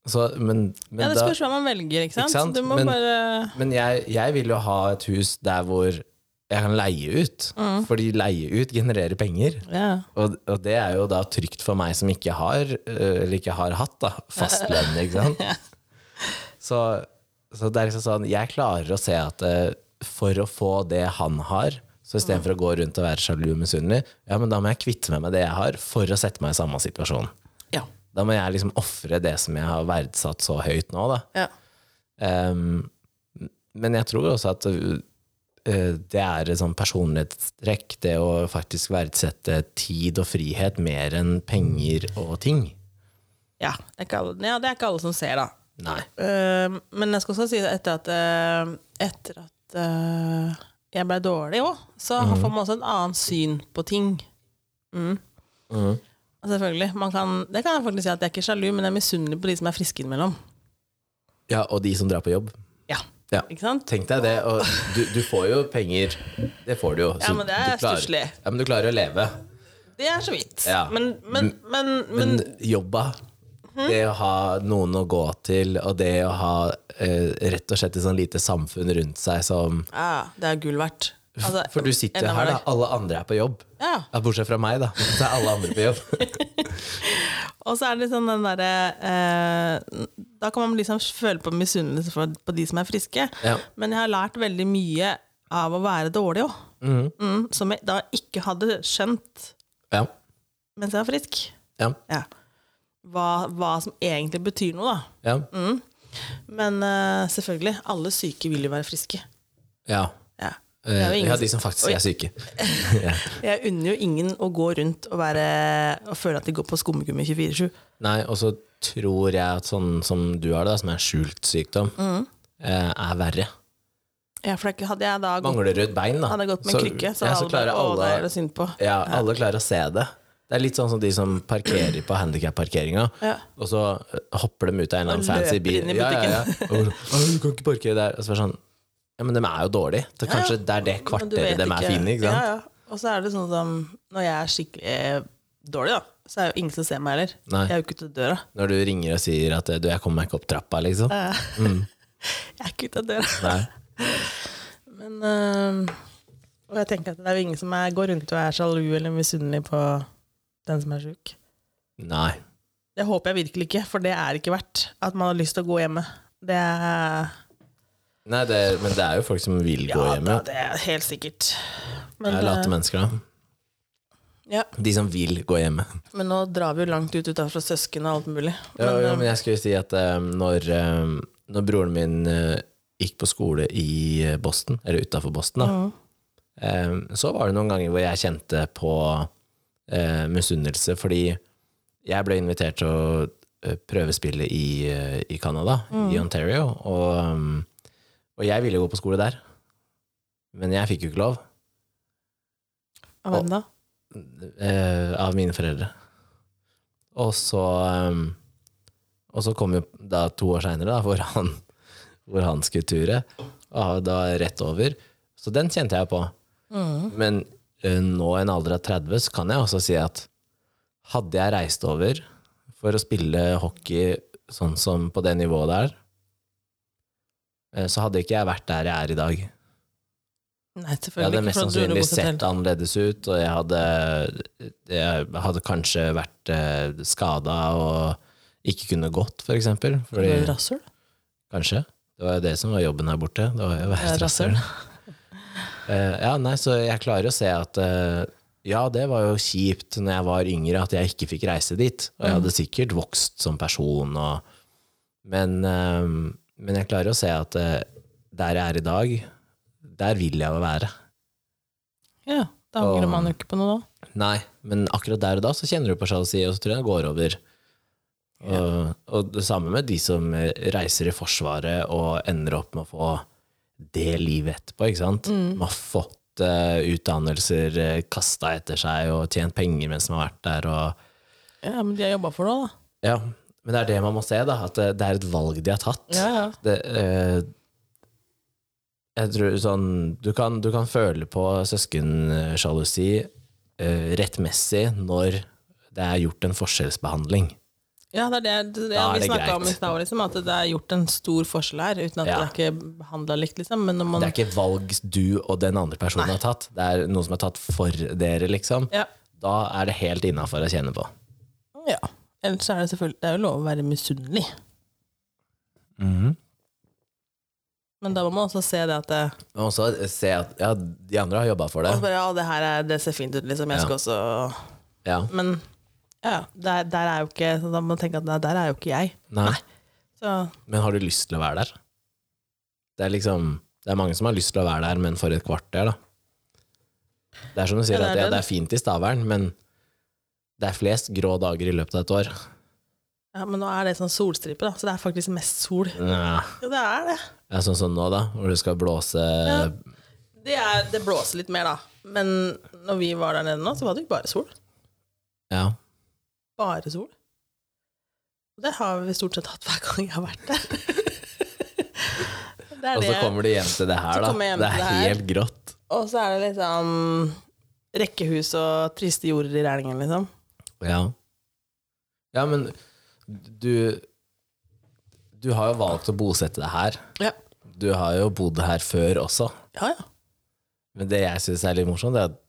Speaker 1: Så, men, men
Speaker 2: ja, det
Speaker 1: da
Speaker 2: spørs hva man velger, ikke sant?
Speaker 1: Ikke sant?
Speaker 2: Du må
Speaker 1: Men-
Speaker 2: bare
Speaker 1: Men jeg, jeg vil jo ha et hus der hvor jeg kan leie ut. Fordi leie ut genererer penger.
Speaker 2: Ja.
Speaker 1: Og, og det er jo da trygt for meg som ikke har, eh, eller ikke har hatt, da, fastlønn, ikke sant. Så, så det er liksom sånn, jeg klarer å se at eh, for å få det han har, så istedenfor å gå rundt og være sjalu og misunnelig, ja, men da må jeg kvitte meg med det jeg har, for å sette meg i samme situasjon.
Speaker 2: ja.
Speaker 1: Da må jeg liksom ofre det som jeg har verdsatt så høyt nå, da.
Speaker 2: ja.
Speaker 1: Ehm, men jeg tror også at eh, det er et sånn personlighetstrekk, det å faktisk verdsette tid og frihet mer enn penger og ting.
Speaker 2: Ja, det er ikke alle, ja, det er ikke alle som ser, da.
Speaker 1: Nei.
Speaker 2: Eh, men jeg skal også si det etter at, eh, etter at eh, jeg ble dårlig òg, så får man også et annet syn på ting. Mm.
Speaker 1: Mhm.
Speaker 2: Og Selvfølgelig. Man kan, det kan jeg faktisk si at jeg er ikke sjalu, men jeg er misunnelig på de som er friske innimellom.
Speaker 1: Ja, og de som drar på jobb.
Speaker 2: Ja.
Speaker 1: Ja.
Speaker 2: Ikke sant?
Speaker 1: Tenk deg det, og du, du får jo penger. Det får du jo.
Speaker 2: Ja,
Speaker 1: så
Speaker 2: men det
Speaker 1: du
Speaker 2: er
Speaker 1: klarer-
Speaker 2: stusslig.
Speaker 1: Ja, men du klarer å leve.
Speaker 2: Det er så vidt.
Speaker 1: Ja.
Speaker 2: Men, men, men, men,
Speaker 1: Men jobba, det å ha noen å gå til, og det å ha eh, rett og slett et sånn lite samfunn rundt seg som
Speaker 2: ja, Det er gull verdt. Altså,
Speaker 1: For du sitter
Speaker 2: enda
Speaker 1: jo her, da.
Speaker 2: verre.
Speaker 1: Alle andre er på jobb.
Speaker 2: Ja.
Speaker 1: Ja, bortsett fra meg, da. Så er alle andre på jobb.
Speaker 2: *laughs* Og så er det sånn den derre eh, Da kan man liksom føle på misunnelse for- på de som er friske.
Speaker 1: Ja.
Speaker 2: Men jeg har lært veldig mye av å være dårlig òg. Mm, som jeg da ikke hadde skjønt
Speaker 1: Mhm. Ja.
Speaker 2: mens jeg var frisk.
Speaker 1: Ja.
Speaker 2: Ja. Hva, hva som egentlig betyr noe, da.
Speaker 1: ja.
Speaker 2: Men eh, selvfølgelig, alle syke vil jo være friske.
Speaker 1: Ja.
Speaker 2: Ja. Det er jo
Speaker 1: Eh,
Speaker 2: ingen
Speaker 1: ja, de som faktisk
Speaker 2: Oi.
Speaker 1: er syke.
Speaker 2: Jeg unner jo ingen å gå rundt og, være, og føle at de går på skummegummi 24-7.
Speaker 1: Nei, og så tror jeg at sånn som du har det, da, som er en skjult sykdom,
Speaker 2: Mhm.
Speaker 1: eh, er verre.
Speaker 2: Ja, for det er ikke- hadde jeg da gått,
Speaker 1: Mangler rødt bein, da.
Speaker 2: hadde jeg gått med
Speaker 1: så-
Speaker 2: en krykke, så
Speaker 1: ja,
Speaker 2: hadde
Speaker 1: så
Speaker 2: alle
Speaker 1: klarer
Speaker 2: bare Å, det er
Speaker 1: alle
Speaker 2: det synd på.
Speaker 1: Ja, alle klarer å se det. Det er litt sånn som de som parkerer på handikapparkeringa,
Speaker 2: Ja.
Speaker 1: og så eh, hopper de ut av en eller
Speaker 2: Og
Speaker 1: annen fancy
Speaker 2: løper
Speaker 1: bil.
Speaker 2: inn i
Speaker 1: Ja, ja, ja. Og så, «Å, du kan ikke parkere der. Og så er det sånn Ja, men de er jo dårlige. Det, kanskje det er det
Speaker 2: Men du vet
Speaker 1: kvarteret de er fine i, ikke sant?
Speaker 2: Ja, ja. Og så er det sånn som når jeg er skikkelig eh, dårlig, da, så er jo ingen som ser meg heller.
Speaker 1: Nei.
Speaker 2: Jeg er jo ikke ute av
Speaker 1: *laughs*
Speaker 2: døra.
Speaker 1: Når du ringer og sier at eh, du, jeg kommer meg ikke opp trappa, liksom.
Speaker 2: Jeg er ikke ute av døra.
Speaker 1: Nei.
Speaker 2: Men eh, Og jeg tenker at det er jo ingen som er, går rundt og er sjalu eller misunnelig på den som er sjuk.
Speaker 1: Nei.
Speaker 2: Det håper jeg virkelig ikke, for det er ikke verdt at man har lyst til å gå hjemme. Det er
Speaker 1: Nei det, men det er jo folk som vil gå
Speaker 2: Ja,
Speaker 1: hjemme.
Speaker 2: da, det er helt sikkert.
Speaker 1: Det
Speaker 2: Men,
Speaker 1: er late mennesker, da.
Speaker 2: eh, ja.
Speaker 1: De som vil gå hjemme.
Speaker 2: men nå drar vi jo langt ut utenfor søsken og alt mulig.
Speaker 1: Ja,
Speaker 2: Men,
Speaker 1: jo,
Speaker 2: eh,
Speaker 1: men jeg skulle si at eh, når, eh, når broren min eh, gikk på skole i eh, Boston, eller utafor Boston, da,
Speaker 2: Mm.
Speaker 1: eh, så var det noen ganger hvor jeg kjente på eh, misunnelse, fordi jeg ble invitert til å eh, prøvespille i, eh, i Canada, i Ontario, og, um, og jeg ville gå på skole der. Men jeg fikk jo ikke lov
Speaker 2: av hvem da?
Speaker 1: eh, av mine foreldre. Og så eh, Og så kom jo da to år seinere, hvor, han- hvor han skulle ture. Og da rett over. Så den kjente jeg på.
Speaker 2: Mm.
Speaker 1: Men eh, nå i en alder av 30 så kan jeg også si at hadde jeg reist over for å spille hockey sånn som på det nivået der, eh, så hadde ikke jeg vært der jeg er i dag.
Speaker 2: Nei,
Speaker 1: Jeg hadde
Speaker 2: selvfølgelig
Speaker 1: mest
Speaker 2: for da dro du
Speaker 1: sannsynlig
Speaker 2: bort til
Speaker 1: sett annerledes ut, og jeg hadde, jeg hadde kanskje vært eh, skada og ikke kunne gått, for eksempel. Fordi,
Speaker 2: Var du Rasshøl?
Speaker 1: kanskje. Det var jo det som var jobben her borte. Det var jo å være
Speaker 2: Ja, rasshøl.
Speaker 1: rasshøl. *laughs* Eh, ja, nei, så jeg klarer å se at eh, ja, det var jo kjipt når jeg var yngre at jeg ikke fikk reise dit. Og jeg hadde sikkert vokst som person, og, men, eh, men jeg klarer å se at eh, der jeg er i dag, der vil jeg jo være.
Speaker 2: Ja, da angrer
Speaker 1: Og-
Speaker 2: man jo ikke på noe da.
Speaker 1: Nei, men akkurat der og da så kjenner du på sjalusi, og så tror jeg det går over. Og, og det samme med de som eh, reiser i Forsvaret og ender opp med å få det livet etterpå, ikke sant?
Speaker 2: Mm.
Speaker 1: Man har fått eh, utdannelser uh, kasta etter seg og tjent penger mens man har vært der. Og,
Speaker 2: Ja, men de har jobba for noe, da.
Speaker 1: ja, men det er det man må se, da. At eh, det, det er et valg de har tatt.
Speaker 2: Ja, ja.
Speaker 1: Det, eh, jeg tror sånn Du kan, du kan føle på søskensjalusi eh, rettmessig når det er gjort en forskjellsbehandling.
Speaker 2: Ja, det er det, det,
Speaker 1: Da er
Speaker 2: vi
Speaker 1: det
Speaker 2: snakka om i
Speaker 1: greit.
Speaker 2: stad, liksom, at det er gjort en stor forskjell her, uten at
Speaker 1: Ja.
Speaker 2: det er ikke behandla likt, liksom. Men når man
Speaker 1: Det er ikke valg du og den andre personen har tatt, det er noe som er tatt for dere, liksom.
Speaker 2: ja.
Speaker 1: Da er det helt innafor å kjenne på.
Speaker 2: ja. Ellers er det selvfølgelig Det er jo lov å være misunnelig. Men da må man også se det at det,
Speaker 1: Men også se at ja, de andre har jobba for det.
Speaker 2: og bare, Ja, det her er, det ser fint ut, liksom. Jeg skal også
Speaker 1: Ja.
Speaker 2: Men ja, der, der er jo ikke så Da må man tenke at nei, der er jo ikke jeg.
Speaker 1: Nei.
Speaker 2: Så
Speaker 1: Men har du lyst til å være der? Det er liksom Det er mange som har lyst til å være der, men for et kvarter, da. Det er som du sier,
Speaker 2: Ja, det er
Speaker 1: at ja,
Speaker 2: det.
Speaker 1: det er fint i Stavern, men det er flest grå dager i løpet av et år.
Speaker 2: ja, Men nå er det sånn solstripe, da, så det er faktisk mest sol.
Speaker 1: Nja,
Speaker 2: Jo, det er det.
Speaker 1: Det er sånn som nå, da, hvor du skal blåse
Speaker 2: Det, er, det blåser litt mer, da. Men når vi var der nede nå, så var det jo bare sol.
Speaker 1: Ja.
Speaker 2: Bare sol. Og Det har vi stort sett hatt hver gang jeg har vært der. det er
Speaker 1: Og så
Speaker 2: det.
Speaker 1: kommer du hjem til det
Speaker 2: Så
Speaker 1: her, da.
Speaker 2: kommer jeg hjem
Speaker 1: Det
Speaker 2: til
Speaker 1: er
Speaker 2: det her.
Speaker 1: helt grått.
Speaker 2: Og så er det liksom rekkehus og triste jorder i Rælingen, liksom.
Speaker 1: Ja. ja, men du Du har jo valgt å bosette deg her.
Speaker 2: Ja.
Speaker 1: Du har jo bodd her før også.
Speaker 2: Ja, ja.
Speaker 1: Men det jeg syns er litt morsomt, det er at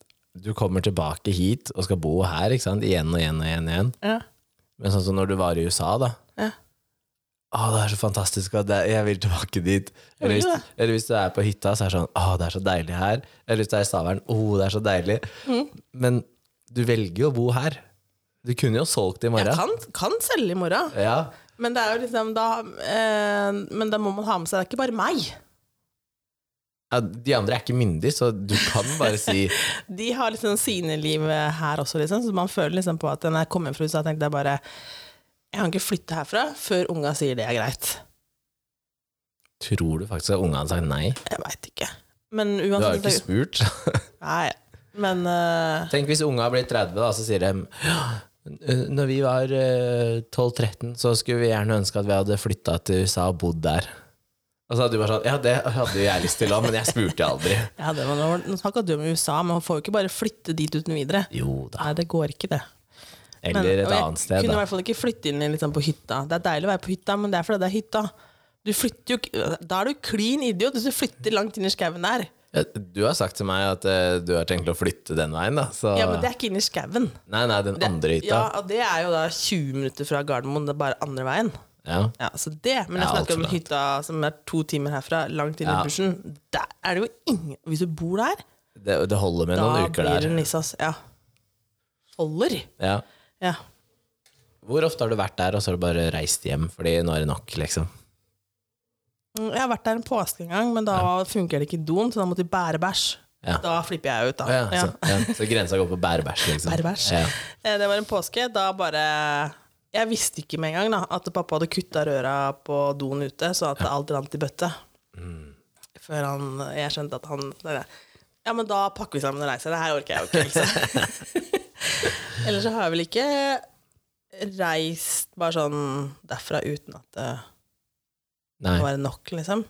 Speaker 1: du kommer tilbake hit og skal bo her ikke sant? igjen og igjen og igjen. og igjen.
Speaker 2: ja.
Speaker 1: Men sånn som når du var i USA, da.
Speaker 2: Ja.
Speaker 1: Å, det er så fantastisk, og det, jeg vil tilbake dit.
Speaker 2: vil
Speaker 1: Eller hvis,
Speaker 2: det.
Speaker 1: eller hvis du er på hytta, så er det sånn Å, det er så deilig her. Eller hvis du er i Stavern. Å, det er så deilig.
Speaker 2: Mm.
Speaker 1: Men du velger jo å bo her. Du kunne jo solgt i
Speaker 2: Jeg
Speaker 1: morgen.
Speaker 2: kan, kan selge i morgen.
Speaker 1: Ja,
Speaker 2: Men det er jo liksom da eh, Men da må man ha med seg Det er ikke bare meg.
Speaker 1: Ja, de andre er ikke myndige, så du kan bare
Speaker 2: *laughs*
Speaker 1: si
Speaker 2: De har liksom sine liv her også, liksom. Så man føler liksom på at når jeg kom hjem fra USA, tenkte jeg bare Jeg kan ikke flytte herfra før unga sier det er greit.
Speaker 1: Tror du faktisk at ungene har sagt nei?
Speaker 2: Jeg veit ikke. Men
Speaker 1: Du har
Speaker 2: uansett
Speaker 1: jo ikke spurt. *laughs*
Speaker 2: Nei. Men eh,
Speaker 1: Tenk hvis unga blir 30, da, så sier de ja, når vi var eh, 12-13, så skulle vi gjerne ønske at vi hadde flytta til USA og bodd der. Og så hadde du bare sånn Ja, det hadde jo jeg lyst til òg, men jeg spurte aldri.
Speaker 2: ja, det var, nå- nå snakka du om USA, men man får jo ikke bare flytte dit uten videre.
Speaker 1: Jo da.
Speaker 2: Nei, det går ikke, det. Men-
Speaker 1: Eller
Speaker 2: og
Speaker 1: et
Speaker 2: jeg
Speaker 1: annet sted,
Speaker 2: Kunne i
Speaker 1: da.
Speaker 2: hvert fall ikke flytte inn liksom, på hytta. Det er deilig å være på hytta, men det er fordi det er hytta. Du flytter jo ikke Da er du klin idiot hvis du flytter langt inn i skauen der.
Speaker 1: Ja, Du har sagt til meg at eh, du har tenkt å flytte den veien, da. Så
Speaker 2: Ja, men det er ikke inn i skauen.
Speaker 1: Nei, nei, den andre hytta.
Speaker 2: Ja, og det er jo da 20 minutter fra Gardermoen, det er bare andre veien.
Speaker 1: Ja.
Speaker 2: Ja, så det, Men jeg
Speaker 1: Ja, alt
Speaker 2: snakker
Speaker 1: for
Speaker 2: om
Speaker 1: langt.
Speaker 2: hytta som er to timer herfra, langt inn i
Speaker 1: Ja.
Speaker 2: bushen. Der er det jo ingen Hvis du bor der,
Speaker 1: Det, det holder med
Speaker 2: da
Speaker 1: noen uker
Speaker 2: blir det
Speaker 1: der.
Speaker 2: nissas. Ja. Holder.
Speaker 1: Ja.
Speaker 2: Ja.
Speaker 1: Hvor ofte har du vært der, og så har du bare reist hjem fordi nå er det nok, liksom?
Speaker 2: Mm, Jeg har vært der en påske en gang, men da funker det ikke i doen, så da måtte de bære bæsj.
Speaker 1: Ja.
Speaker 2: Da flipper jeg ut, da.
Speaker 1: Å Ja,
Speaker 2: Ja.
Speaker 1: Så, ja. så grensa går på bærebæsj, liksom.
Speaker 2: Bærebæsj.
Speaker 1: Ja.
Speaker 2: Eh, Det var en påske. Da bare Jeg visste ikke med en gang da, at pappa hadde kutta røra på doen ute, så at alt rant i bøtte.
Speaker 1: Mm.
Speaker 2: Før han, jeg skjønte at han det er det. Ja, men da pakker vi sammen og reiser. Det her orker jeg jo ikke. Liksom.
Speaker 1: *laughs*
Speaker 2: Ellers så har jeg vel ikke reist bare sånn derfra uten at det
Speaker 1: Nei.
Speaker 2: var nok, liksom.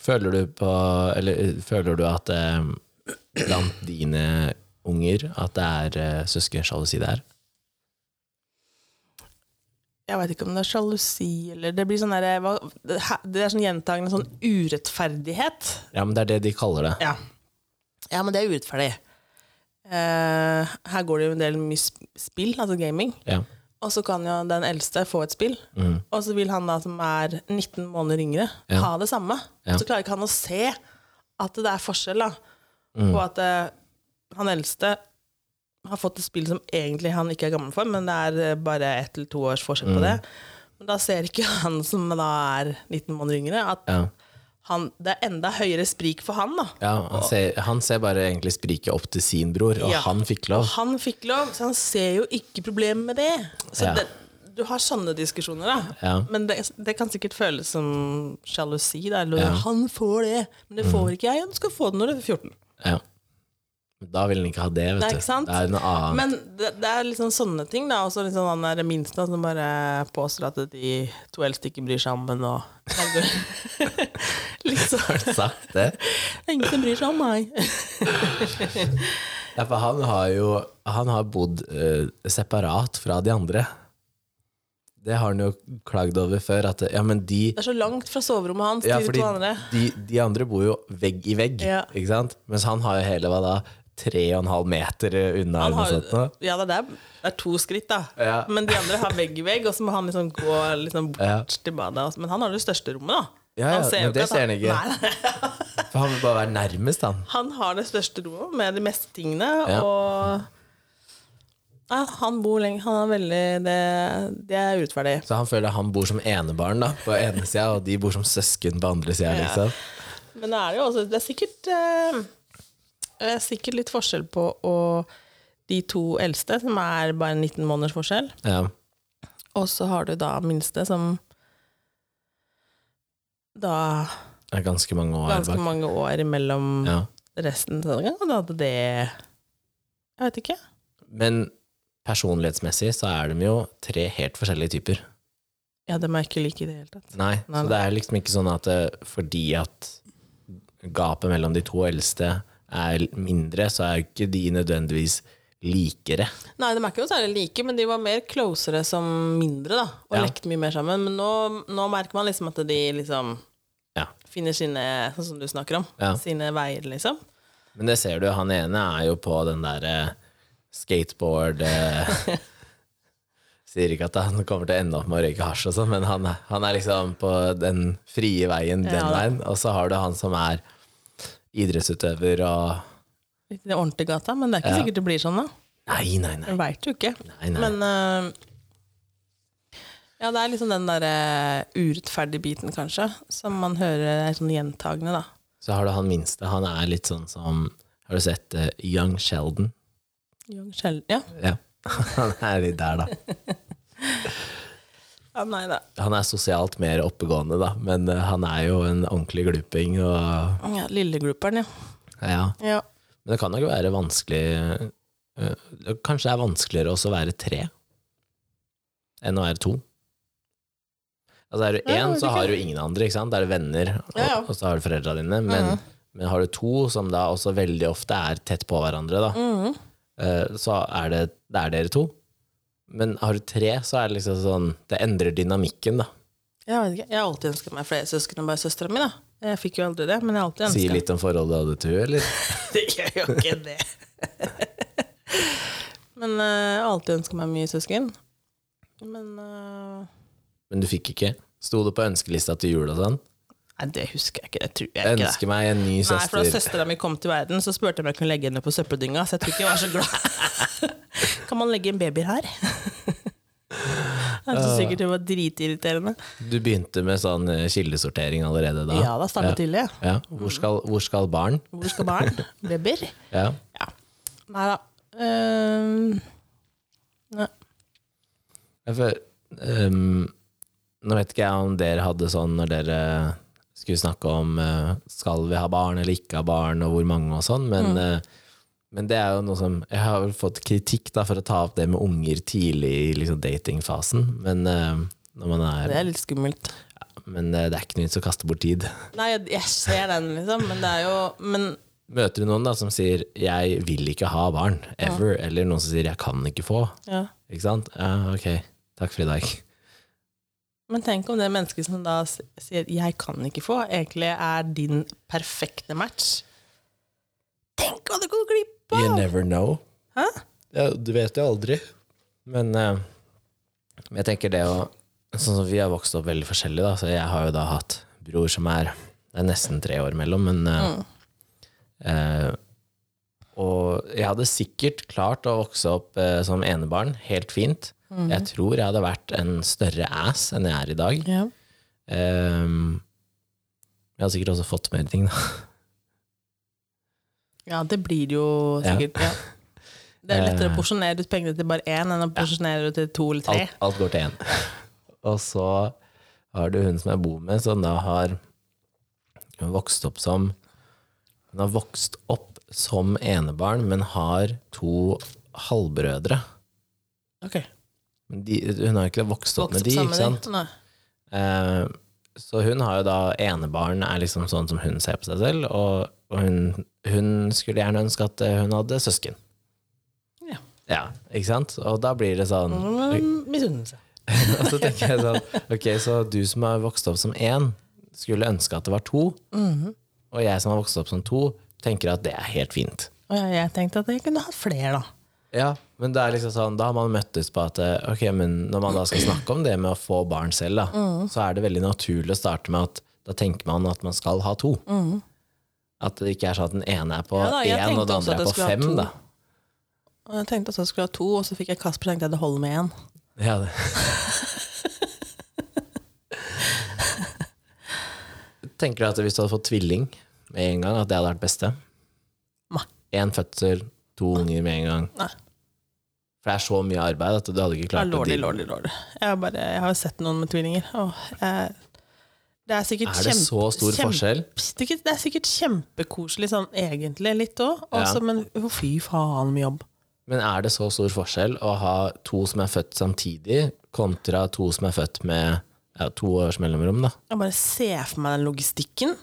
Speaker 1: Føler du på Eller eh, føler du at eh, blant dine unger at det er eh, søskensjalusi der?
Speaker 2: Jeg veit ikke om det er sjalusi eller Det blir sånn der, hva- det her- det er sånn gjentagende sånn urettferdighet.
Speaker 1: Ja, men det er det de kaller det.
Speaker 2: Ja. ja, men det er urettferdig. Eh, her går det jo en del mye sp- spill, altså gaming.
Speaker 1: Ja.
Speaker 2: Og så kan jo den eldste få et spill,
Speaker 1: Mhm.
Speaker 2: og så vil han da som er 19 måneder yngre,
Speaker 1: Ja.
Speaker 2: ha det samme.
Speaker 1: Ja.
Speaker 2: Så klarer ikke han å se at det er forskjell da,
Speaker 1: Mm.
Speaker 2: på at eh, han eldste har fått et spill som egentlig han ikke er gammel for, men det er eh, bare ett eller to års forskjell
Speaker 1: Mm.
Speaker 2: på det. Men da ser ikke *laughs* han som da er 19 måneder yngre, at
Speaker 1: Ja.
Speaker 2: han, det er enda høyere sprik for han, da.
Speaker 1: ja han, ser, han ser bare egentlig spriket opp til sin bror, og
Speaker 2: Ja.
Speaker 1: han fikk lov.
Speaker 2: Han fikk lov, så han ser jo ikke problemet med det. Så
Speaker 1: Ja.
Speaker 2: det, du har sånne diskusjoner, da.
Speaker 1: Ja.
Speaker 2: Men det, det kan sikkert føles som sjalusi. da, Eller
Speaker 1: Ja. Mm.
Speaker 2: 'han får det', men det får ikke jeg. Du skal få det når du er 14.
Speaker 1: Ja. Da vil han ikke ha det, vet
Speaker 2: Nei,
Speaker 1: du.
Speaker 2: ikke sant?
Speaker 1: Det er noe annet.
Speaker 2: Men det, det er liksom sånne ting, da. Og så liksom han der minste som bare påstår at de to eldste ikke bryr seg om henne, og *laughs*
Speaker 1: *laughs*
Speaker 2: Liksom.
Speaker 1: Har du sagt det?
Speaker 2: Ingen som bryr seg om meg.
Speaker 1: Ja, for han har jo han har bodd eh, separat fra de andre. Det har han jo klagd over før. At ja, men de,
Speaker 2: Det er så langt fra soverommet hans
Speaker 1: ja,
Speaker 2: til de
Speaker 1: fordi
Speaker 2: to andre.
Speaker 1: de, de andre bor jo vegg i vegg,
Speaker 2: Ja.
Speaker 1: ikke sant? mens han har jo hele hva da, tre og en halv meter unna.
Speaker 2: Han
Speaker 1: eller
Speaker 2: har,
Speaker 1: noe sånt, nå.
Speaker 2: ja, det er, det er to skritt, da.
Speaker 1: Ja.
Speaker 2: Men de andre har vegg i vegg, og så må han liksom gå liksom bort
Speaker 1: Ja.
Speaker 2: til badet. og så- Men han har det største rommet, da.
Speaker 1: Ja, ja, men
Speaker 2: jo
Speaker 1: det
Speaker 2: at
Speaker 1: ser han ikke.
Speaker 2: Nei, nei.
Speaker 1: For han vil bare være nærmest, han.
Speaker 2: Han har det største rommet med de meste tingene,
Speaker 1: Ja.
Speaker 2: og ja, Han bor lenge. Han er veldig Det, det er urettferdig.
Speaker 1: Så han føler han bor som enebarn da, på ene sida, og de bor som søsken på andre sida.
Speaker 2: Ja.
Speaker 1: Liksom.
Speaker 2: Men det er jo også Det er sikkert eh, det er sikkert litt forskjell på å de to eldste, som er bare 19 måneders forskjell,
Speaker 1: Ja.
Speaker 2: og så har du da minste, som da
Speaker 1: Det er ganske mange år
Speaker 2: ganske
Speaker 1: bak.
Speaker 2: mange år imellom
Speaker 1: Ja.
Speaker 2: resten. Så det kan hende at det Jeg vet ikke.
Speaker 1: Men personlighetsmessig så er de jo tre helt forskjellige typer.
Speaker 2: Ja, det må jeg ikke like i det hele tatt.
Speaker 1: Nei,
Speaker 2: Nei,
Speaker 1: så det er liksom ikke sånn at eh, fordi at gapet mellom de to eldste er mindre, så er jo ikke de nødvendigvis likere.
Speaker 2: Nei, de er ikke noe særlig like, men de var mer closere som mindre, da. Og
Speaker 1: Ja.
Speaker 2: lekte mye mer sammen. Men nå, nå merker man liksom at de liksom
Speaker 1: Ja.
Speaker 2: finner sine, sånn som du snakker om,
Speaker 1: Ja.
Speaker 2: sine veier, liksom.
Speaker 1: Men det ser du, han ene er jo på den der eh, skateboard eh, *laughs* Sier ikke at han kommer til å ende opp med å røyke hasj og sånn, men han, er- han er liksom på den frie veien den
Speaker 2: Ja.
Speaker 1: veien. Og så har du han som er idrettsutøver og
Speaker 2: Litt i den ordentlige gata, men det er ikke
Speaker 1: Ja.
Speaker 2: sikkert det blir sånn, da.
Speaker 1: Nei, nei, nei.
Speaker 2: Jeg veit jo ikke.
Speaker 1: nei, nei.
Speaker 2: Men eh, Ja, det er liksom den derre urettferdige biten, kanskje, som man hører er sånn gjentagende, da.
Speaker 1: Så har du han minste. Han er litt sånn som Har du sett eh, Young Sheldon?
Speaker 2: Young Sheldon. Ja.
Speaker 1: Ja. *laughs* Han er litt der, da.
Speaker 2: ja, nei da.
Speaker 1: Han er sosialt mer oppegående, da, men eh, han er jo en ordentlig gluping. Og,
Speaker 2: Ja, Lillegrouperen, ja.
Speaker 1: ja.
Speaker 2: ja.
Speaker 1: Men det kan nok være vanskelig eh, Kanskje det er vanskeligere også å være tre enn å være to. Altså Er du
Speaker 2: Ja,
Speaker 1: én,
Speaker 2: det
Speaker 1: så
Speaker 2: kan-
Speaker 1: har du ingen andre. ikke sant? Da er det venner, og,
Speaker 2: Ja, ja.
Speaker 1: og så har du foreldra dine. Men, men har du to, som da også veldig ofte er tett på hverandre, da,
Speaker 2: Mhm.
Speaker 1: eh, så er det, det er dere to. Men har du tre, så er det liksom sånn Det endrer dynamikken, da.
Speaker 2: Jeg vet ikke, jeg har alltid ønska meg flere søsken enn bare søstera mi, da. Jeg fikk jo aldri det, men jeg har alltid ønska
Speaker 1: Sier litt om forholdet du hadde til henne, eller?
Speaker 2: Det *laughs* gjør jo ikke det. *laughs* Men eh, jeg har alltid ønska meg mye søsken. Men eh,
Speaker 1: Men du fikk ikke? Sto det på ønskelista til jul og sånn?
Speaker 2: Nei, det husker jeg ikke. Det tror jeg ikke. det.
Speaker 1: Ønske meg en ny
Speaker 2: Nei, for
Speaker 1: søster.
Speaker 2: da søstera mi kom til verden, så spurte jeg om jeg kunne legge henne på søppeldynga. Så jeg tror ikke jeg var så glad. *laughs* kan man legge en baby her? *laughs* Jeg syns sikkert det var dritirriterende.
Speaker 1: Du begynte med sånn eh, kildesortering allerede da?
Speaker 2: Ja da, starta tidlig. ja.
Speaker 1: Ja. Hvor, skal, hvor skal barn?
Speaker 2: Hvor skal barn? Babyer?
Speaker 1: Ja.
Speaker 2: Ja. Nei da. Ehm, nei.
Speaker 1: Ja, For, ehm, nå vet ikke jeg om dere hadde sånn når dere skulle snakke om eh, skal vi ha barn eller ikke ha barn, og hvor mange og sånn, men, eh, men det er jo noe som Jeg har vel fått kritikk da for å ta opp det med unger tidlig i liksom, datingfasen, men eh, når man er,
Speaker 2: Det er litt skummelt.
Speaker 1: Men eh, det er ikke noe vits å kaste bort tid.
Speaker 2: Nei, jeg- jeg ser den, liksom, men det er jo Men
Speaker 1: Møter du noen da som sier 'jeg vil ikke ha barn', ever, eller noen som sier 'jeg kan ikke få',
Speaker 2: ja.
Speaker 1: ikke sant? Ja, ok, takk for i dag.
Speaker 2: Men tenk om det mennesket som da s- sier 'jeg kan ikke få', egentlig er din perfekte match. Tenk hva du går glipp
Speaker 1: You
Speaker 2: av!
Speaker 1: never know.
Speaker 2: Hæ?
Speaker 1: Ja, du vet jo aldri. Men eh, jeg tenker det å Sånn som vi har vokst opp veldig forskjellig, da, så jeg har jo da hatt bror som er Det er nesten tre år mellom, men eh,
Speaker 2: Mm.
Speaker 1: eh, Og jeg hadde sikkert klart å vokse opp eh, som enebarn helt fint.
Speaker 2: Mm.
Speaker 1: Jeg tror jeg hadde vært en større ass enn jeg er i dag.
Speaker 2: Ja.
Speaker 1: Ehm, jeg hadde sikkert også fått mer ting, da.
Speaker 2: ja, det blir det jo
Speaker 1: Ja. Eh.
Speaker 2: sikkert. Ja. Det er lettere å porsjonere ut pengene til bare én enn å porsjonere ut til to eller tre.
Speaker 1: Alt, alt går til én. *laughs* Og så har du hun som jeg bor med, som da har hun vokst opp som Hun har vokst opp som enebarn, men har to halvbrødre.
Speaker 2: Ok.
Speaker 1: Men De, hun har jo ikke vokst opp
Speaker 2: Vokst
Speaker 1: med de,
Speaker 2: sammen
Speaker 1: ikke sant?
Speaker 2: Nei.
Speaker 1: Eh, så hun har jo da Enebarn er liksom sånn som hun ser på seg selv, og, og hun, hun skulle gjerne ønske at eh, hun hadde søsken.
Speaker 2: Ja.
Speaker 1: Ja, ikke sant? Og da blir det sånn
Speaker 2: Mm, Misunnelse.
Speaker 1: *laughs* Og så tenker jeg sånn Ok, så du som har vokst opp som én, skulle ønske at det var to.
Speaker 2: Mhm.
Speaker 1: Og jeg som har vokst opp som to, tenker at det er helt fint.
Speaker 2: Og jeg, jeg tenkte at jeg kunne hatt flere, da.
Speaker 1: Ja, men det er liksom sånn, da har man møttes på at eh, Ok, men når man da skal snakke om det med å få barn selv, da,
Speaker 2: Mhm.
Speaker 1: så er det veldig naturlig å starte med at da tenker man at man skal ha to. At det ikke er sånn at den ene er på
Speaker 2: Ja da, jeg
Speaker 1: én, og
Speaker 2: tenkte
Speaker 1: den
Speaker 2: også
Speaker 1: andre
Speaker 2: at
Speaker 1: er
Speaker 2: jeg
Speaker 1: på
Speaker 2: skulle ha
Speaker 1: fem.
Speaker 2: to.
Speaker 1: da.
Speaker 2: Og jeg tenkte også jeg skulle ha to, og så fikk jeg Kasper og tenkte jeg det holder med én.
Speaker 1: Ja,
Speaker 2: *laughs*
Speaker 1: det. Tenker du at hvis du hadde fått tvilling med en gang, at det hadde vært beste?
Speaker 2: Nei.
Speaker 1: Én fødsel, to unger med en gang.
Speaker 2: Nei.
Speaker 1: For det er så mye arbeid at du hadde ikke
Speaker 2: Ja,
Speaker 1: klart
Speaker 2: lordy,
Speaker 1: å
Speaker 2: lordy, lordy. Jeg, bare, jeg har jo sett noen med tvillinger. Åh, jeg, det er sikkert
Speaker 1: Er det
Speaker 2: kjempe-
Speaker 1: så stor
Speaker 2: kjempe-
Speaker 1: forskjell?
Speaker 2: Det er ikke- det er sikkert kjempekoselig sånn egentlig, litt òg.
Speaker 1: Ja.
Speaker 2: Men å, fy faen, mye jobb.
Speaker 1: Men er det så stor forskjell å ha to som er født samtidig, kontra to som er født med ja, to års mellomrom, da?
Speaker 2: Jeg bare ser for meg den logistikken.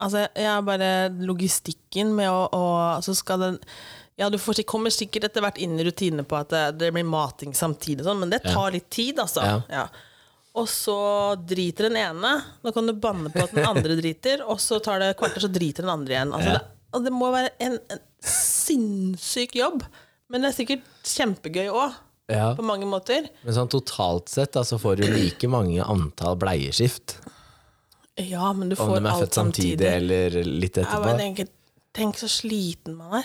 Speaker 2: Altså, jeg- jeg bare Logistikken med å, å Så skal den Ja, du får, sik- kommer sikkert etter hvert inn i rutinene på at det, det blir mating samtidig, og sånn, men det tar litt tid, altså.
Speaker 1: Ja.
Speaker 2: Ja. Og så driter den ene. Nå kan du banne på at den andre driter, og så tar det kvarter, så driter den andre igjen. Altså,
Speaker 1: Ja.
Speaker 2: det, og det må være en, en sinnssyk jobb. Men det er sikkert kjempegøy òg,
Speaker 1: Ja.
Speaker 2: på mange måter.
Speaker 1: Men sånn totalt sett da, så får du like mange antall bleieskift.
Speaker 2: Ja, men du
Speaker 1: Om
Speaker 2: får
Speaker 1: de er
Speaker 2: alt
Speaker 1: født samtidig,
Speaker 2: samtidig.
Speaker 1: eller litt
Speaker 2: Jeg bare
Speaker 1: etterpå.
Speaker 2: tenker, tenk så sliten man er.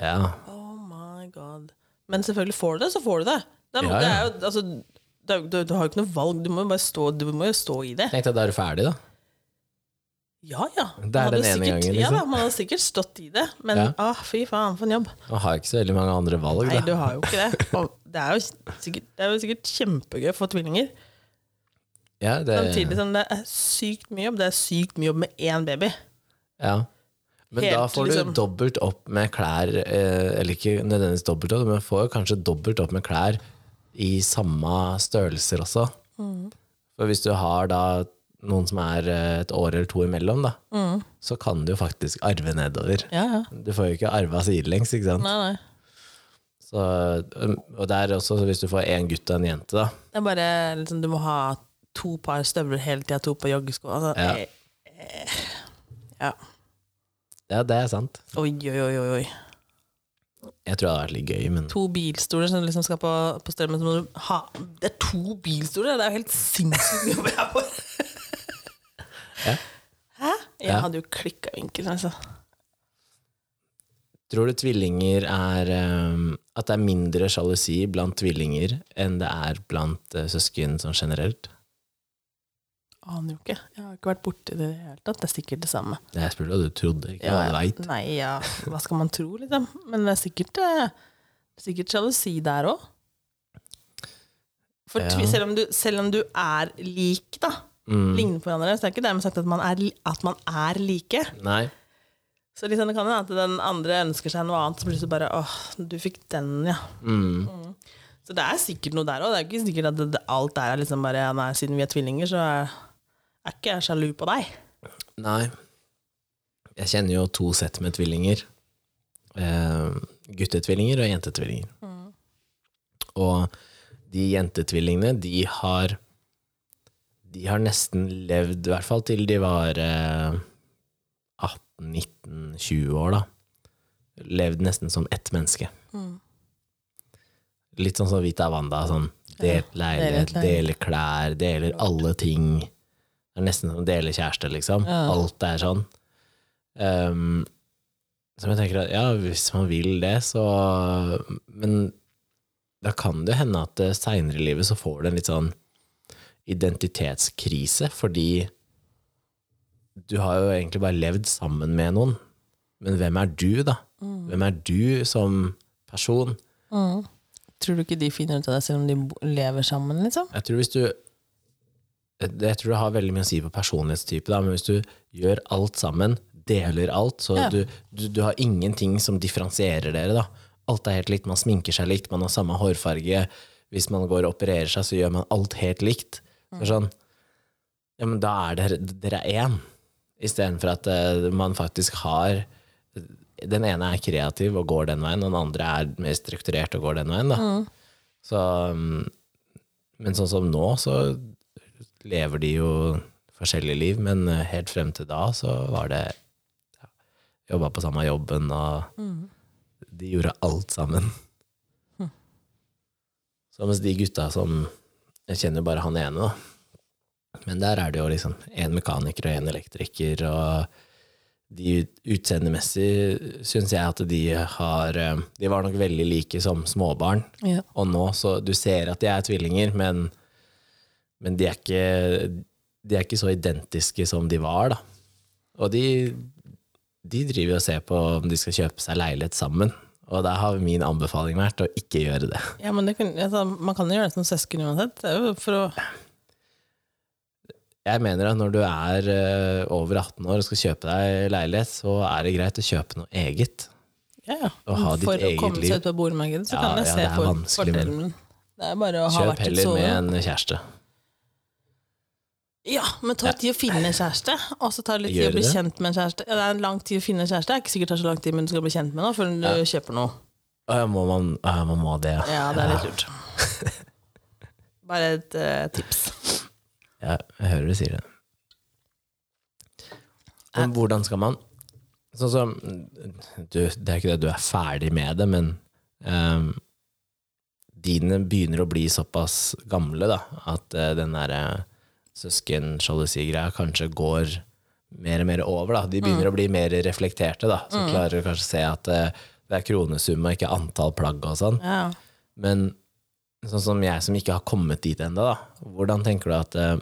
Speaker 1: Ja.
Speaker 2: Oh my god. Men selvfølgelig får du det, så får du det. Det
Speaker 1: Ja,
Speaker 2: er,
Speaker 1: ja.
Speaker 2: det er jo, altså, det er jo- du, du har jo ikke noe valg, du må jo bare stå, du må jo stå i det.
Speaker 1: Tenk deg, da er du ferdig, da.
Speaker 2: Ja ja. Man
Speaker 1: Det er
Speaker 2: hadde
Speaker 1: den ene
Speaker 2: sikkert,
Speaker 1: gangen,
Speaker 2: Ja da,
Speaker 1: liksom.
Speaker 2: man hadde sikkert stått i det, men
Speaker 1: Ja.
Speaker 2: ah, fy faen, for en jobb.
Speaker 1: Man har ikke så veldig mange andre valg,
Speaker 2: Nei, du
Speaker 1: da.
Speaker 2: har jo ikke
Speaker 1: *laughs*
Speaker 2: det. Og det er jo sikkert, det er jo sikkert kjempegøy å få tvillinger.
Speaker 1: Ja, det,
Speaker 2: Samtidig som det er sykt mye jobb. Det er sykt mye jobb med én baby.
Speaker 1: ja. Men da
Speaker 2: Helt,
Speaker 1: får du
Speaker 2: liksom.
Speaker 1: dobbelt opp med klær, eh, eller ikke nødvendigvis dobbelt opp, men får kanskje dobbelt opp med klær i samme størrelser også.
Speaker 2: Mm.
Speaker 1: For hvis du har da noen som er eh, et år eller to imellom, da, så kan du jo faktisk arve nedover.
Speaker 2: Mm. Ja, ja.
Speaker 1: Du får jo ikke arva sidelengs, ikke sant?
Speaker 2: Nei, nei.
Speaker 1: Så, um, og det er også så hvis du får én gutt og en jente, da.
Speaker 2: Det er bare liksom, du må ha to par støvler hele tida, to par joggesko. Altså,
Speaker 1: Ja.
Speaker 2: eh, eh, ja.
Speaker 1: Ja, det er sant.
Speaker 2: Oi, oi, oi, oi, oi.
Speaker 1: Jeg tror det hadde vært litt gøy, men
Speaker 2: To bilstoler som liksom skal på, på stell, men så må du ha Det er to bilstoler! Det er jo helt sinnssykt mye jobb jeg har på!
Speaker 1: Ja.
Speaker 2: Hæ? Jeg
Speaker 1: Ja.
Speaker 2: hadde jo klikka vinkel, altså.
Speaker 1: Tror du tvillinger er um, At det er mindre sjalusi blant tvillinger enn det er blant eh, søsken sånn generelt?
Speaker 2: Aner jo ikke. Jeg har ikke vært borti det i det hele tatt. Det er sikkert det samme.
Speaker 1: Jeg spurte hva du trodde, ikke
Speaker 2: Ja,
Speaker 1: hva du
Speaker 2: ja.
Speaker 1: veit.
Speaker 2: Nei, ja. Hva skal man tro, liksom? Men det er sikkert, eh, sikkert sjalusi der òg. For
Speaker 1: Ja.
Speaker 2: tvi- selv, om du, selv om du er lik, da,
Speaker 1: Mm.
Speaker 2: ligner på hverandre, så er det ikke dermed sagt at man er, li- at man er like.
Speaker 1: Nei.
Speaker 2: Så liksom, det kan hende at den andre ønsker seg noe annet, så plutselig bare åh, du fikk den, ja.
Speaker 1: Mm.
Speaker 2: Så det er sikkert noe der òg. Det er ikke sikkert at det, det, alt der er liksom bare ja, nei, siden vi er tvillinger, så er, er ikke jeg sjalu på deg.
Speaker 1: Nei. Jeg kjenner jo to sett med tvillinger. Eh, guttetvillinger og jentetvillinger. Og de jentetvillingene, de har De har nesten levd, i hvert fall til de var eh, 18-19-20 år, da. Levd nesten som ett menneske. Litt sånn som Vita Wanda. Sånn, delt leilighet,
Speaker 2: leilighet.
Speaker 1: deler klær, deler alle ting. Det er nesten som å dele kjæreste, liksom.
Speaker 2: Ja.
Speaker 1: Alt er sånn. Um, så jeg tenker at ja, hvis man vil det, så Men da kan det hende at eh, seinere i livet så får du en litt sånn identitetskrise, fordi du har jo egentlig bare levd sammen med noen. Men hvem er du, da? Hvem er du som person?
Speaker 2: Tror du ikke de finner ut av det selv om de bo- lever sammen, liksom?
Speaker 1: Jeg tror hvis du det- Jeg tror det har veldig mye å si på personlighetstype, da, men hvis du gjør alt sammen, deler alt, så
Speaker 2: Ja.
Speaker 1: du, du, du har ingenting som differensierer dere, da. Alt er helt likt, man sminker seg likt, man har samme hårfarge. Hvis man går og opererer seg, så gjør man alt helt likt. Så sånn, ja, men da er dere, dere er én, istedenfor at eh, man faktisk har Den ene er kreativ og går den veien, og den andre er mer strukturert og går den veien. Da. Så mm, men sånn som nå, så lever de jo forskjellige liv, men eh, helt frem til da så var det ja, Jobba på samme jobben, og de gjorde alt sammen. Så mens de gutta som Jeg kjenner jo bare han ene, da. Men der er det jo liksom én mekaniker og én elektriker, og de utseendemessig syns jeg at de har eh, De var nok veldig like som småbarn.
Speaker 2: Ja.
Speaker 1: Og nå, så du ser at de er tvillinger, men, men de, er ikke, de er ikke så identiske som de var, da. Og de, de driver og ser på om de skal kjøpe seg leilighet sammen. Og der har min anbefaling vært å ikke gjøre det.
Speaker 2: Ja, men det kan, altså, Man kan jo gjøre det som søsken uansett. Det er jo for å,
Speaker 1: Jeg mener at når du er eh, over 18 år og skal kjøpe deg leilighet, så er det greit å kjøpe noe eget.
Speaker 2: ja, ja.
Speaker 1: Å ha ditt
Speaker 2: for å
Speaker 1: eget
Speaker 2: komme
Speaker 1: liv.
Speaker 2: seg ut på boligmarkedet, så
Speaker 1: Ja,
Speaker 2: kan jeg
Speaker 1: ja,
Speaker 2: se
Speaker 1: det er
Speaker 2: for,
Speaker 1: vanskelig, men-
Speaker 2: fordelen. min. Det er bare å ha
Speaker 1: Kjøp
Speaker 2: vært et
Speaker 1: heller med
Speaker 2: soverom.
Speaker 1: en kjæreste.
Speaker 2: Ja, men tar tid å finne en kjæreste, og så tar det litt tid
Speaker 1: Gjør
Speaker 2: å bli
Speaker 1: det?
Speaker 2: kjent med en kjæreste. Ja, det er en lang tid å finne en kjæreste. Det er ikke sikkert det tar så lang tid, men du skal bli kjent med noe før du
Speaker 1: Ja.
Speaker 2: kjøper noe.
Speaker 1: Å, ja, må man, å, ja, man må det, ja.
Speaker 2: Ja, det er litt lurt. Bare et eh, tips.
Speaker 1: Ja, jeg hører du sier det. Men hvordan skal man Sånn som du, Det er ikke det du er ferdig med det, men ehm, dine begynner å bli såpass gamle da, at eh, den derre søskensjalusi-greia kanskje går mer og mer over. Da. De begynner å bli mer reflekterte, da. så klarer du kanskje å se at eh, det er kronesum og ikke antall plagg og sånn.
Speaker 2: Ja.
Speaker 1: Men sånn som jeg som ikke har kommet dit ennå, da, hvordan tenker du at eh,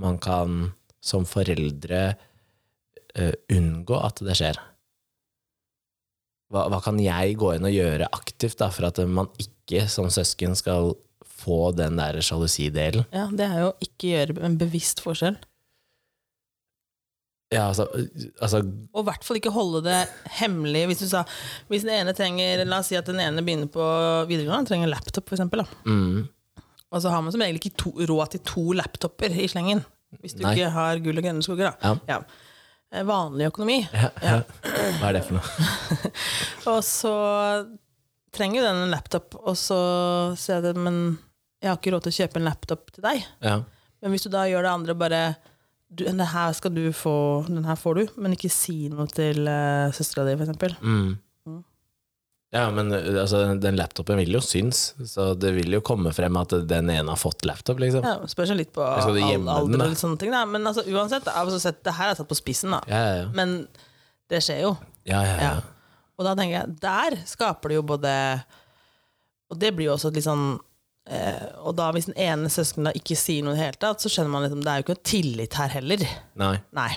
Speaker 1: man kan som foreldre eh, unngå at det skjer? Hva, hva kan jeg gå inn og gjøre aktivt da, for at eh, man ikke som søsken skal få den der sjalusidelen?
Speaker 2: Ja, det er jo ikke gjøre en bevisst forskjell.
Speaker 1: Ja, altså, altså
Speaker 2: Og i hvert fall ikke holde det hemmelig. Hvis, du sa, hvis den ene trenger La oss si at den ene begynner på videregående, trenger laptop, for eksempel, da.
Speaker 1: mm, *laughs*
Speaker 2: Og så har man som regel ikke to, råd til to laptoper i slengen. Hvis du
Speaker 1: Nei.
Speaker 2: ikke har gull og grønne skoger, da.
Speaker 1: Ja.
Speaker 2: Eh, Vanlig økonomi.
Speaker 1: ja, ja. Hva er det for noe?
Speaker 2: Og så trenger jo den en laptop, og så sier jeg det, men jeg har ikke råd til å kjøpe en laptop til deg.
Speaker 1: Ja.
Speaker 2: Men hvis du da gjør det andre bare du, den her skal du få, den her får du, men ikke si noe til uh, søstera di, for eksempel.
Speaker 1: Mm.
Speaker 2: Mm.
Speaker 1: Ja, men uh, altså, den laptopen vil jo synes, så det vil jo komme frem at den ene har fått laptop, liksom.
Speaker 2: Ja, spørs jo litt på
Speaker 1: Jeg skal du
Speaker 2: al
Speaker 1: gjemme den,
Speaker 2: alder
Speaker 1: da?
Speaker 2: og litt sånne ting. Da. Men altså, uansett, da, altså, sett, det her er satt på spissen, da.
Speaker 1: Ja, ja,
Speaker 2: Men det skjer jo.
Speaker 1: ja. ja, ja, ja.
Speaker 2: Ja. Og da tenker jeg, der skaper det jo både Og det blir jo også et litt sånn eh, Og da hvis den ene søskenen da ikke sier noe i det hele tatt, så skjønner man liksom Det er jo ikke noe tillit her heller.
Speaker 1: Nei,
Speaker 2: Nei.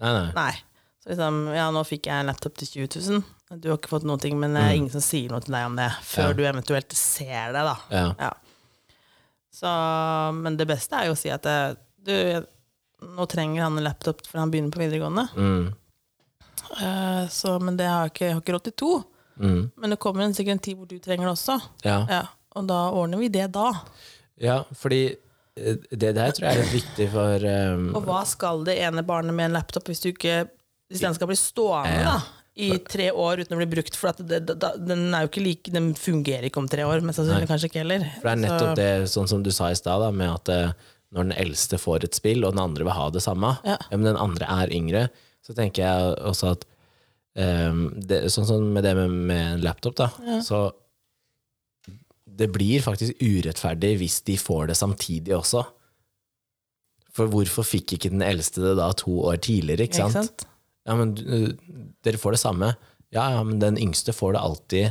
Speaker 1: nei, nei.
Speaker 2: nei. Så liksom, ja, nå fikk jeg en laptop til 20 000. Du har ikke fått noen ting, men det er ingen som sier noe til deg om det før
Speaker 1: Ja.
Speaker 2: du eventuelt ser det, da.
Speaker 1: Ja.
Speaker 2: Ja. Så, men det beste er jo å si at eh, du, jeg- nå trenger han en laptop for han begynner på videregående.
Speaker 1: Mm.
Speaker 2: Eh, så, men det har jeg ikke, jeg har ikke råd til to.
Speaker 1: Mm.
Speaker 2: Men det kommer en sikkert en tid hvor du trenger det også.
Speaker 1: Ja.
Speaker 2: Ja, og da ordner vi det da.
Speaker 1: ja, fordi uh, det der tror jeg er litt viktig for um,
Speaker 2: Og hva skal det ene barnet med en laptop hvis, du ikke, hvis den skal bli stående
Speaker 1: Ja.
Speaker 2: da, i tre år uten å bli brukt? For at det, da, den, er jo ikke like, den fungerer ikke om tre år, men sannsynlig kanskje ikke heller.
Speaker 1: For det er nettopp det, sånn som du sa i stad, da, med at eh, når den eldste får et spill, og den andre vil ha det samme,
Speaker 2: Ja.
Speaker 1: men den andre er yngre, så tenker jeg også at ehm, det, Sånn som med det med, med en laptop, da, så det blir faktisk urettferdig hvis de får det samtidig også. For hvorfor fikk ikke den eldste det da to år tidligere, ikke sant? Ja, men du- dere får det samme. Ja, ja, men den yngste får det alltid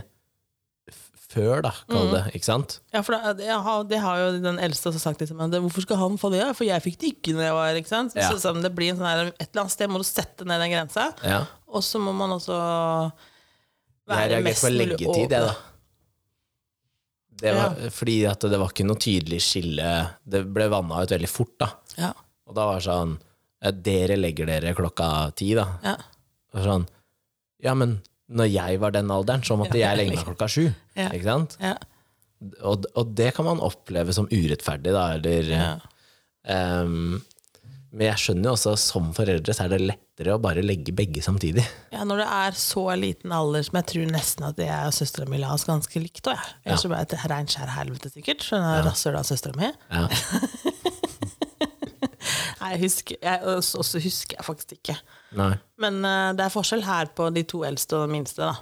Speaker 1: f- før, da, kall det, ikke sant?
Speaker 2: Ja, for da, det, har, det har jo den eldste også sagt. Liksom, at hvorfor skal han få det? Ja, For jeg fikk det ikke når jeg var ikke sant?
Speaker 1: Ja.
Speaker 2: Så, sånn, det blir en sånn her, Et eller annet sted må du sette ned den grensa,
Speaker 1: Ja.
Speaker 2: og så må man også
Speaker 1: Jeg
Speaker 2: være
Speaker 1: reagerte
Speaker 2: mest
Speaker 1: på
Speaker 2: mulig
Speaker 1: leggetid, jeg, da. Det var, Fordi at det var ikke noe tydelig skille. Det ble vanna ut veldig fort, da.
Speaker 2: Ja.
Speaker 1: Og da var det sånn ja, Dere legger dere klokka ti, da.
Speaker 2: Ja.
Speaker 1: Og sånn Ja, men når jeg var den alderen, så måtte
Speaker 2: Ja,
Speaker 1: jeg legge meg klokka sju.
Speaker 2: Ja.
Speaker 1: Ikke sant?
Speaker 2: Ja.
Speaker 1: Og, og det kan man oppleve som urettferdig, da, eller
Speaker 2: Ja.
Speaker 1: ehm, Men jeg skjønner jo også, som foreldre, så er det lettere å bare legge begge samtidig.
Speaker 2: Ja, når det er så liten alder som jeg tror nesten at jeg og søstera mi la oss ganske likt òg, jeg. Ellers så ble det et reint skjær helvete, sikkert. Skjønner jeg rasshøla av søstera mi. *laughs*
Speaker 1: Ja.
Speaker 2: Nei, jeg husker, jeg, og så- også husker jeg faktisk ikke.
Speaker 1: Nei.
Speaker 2: Men eh, det er forskjell her på de to eldste og den minste, da.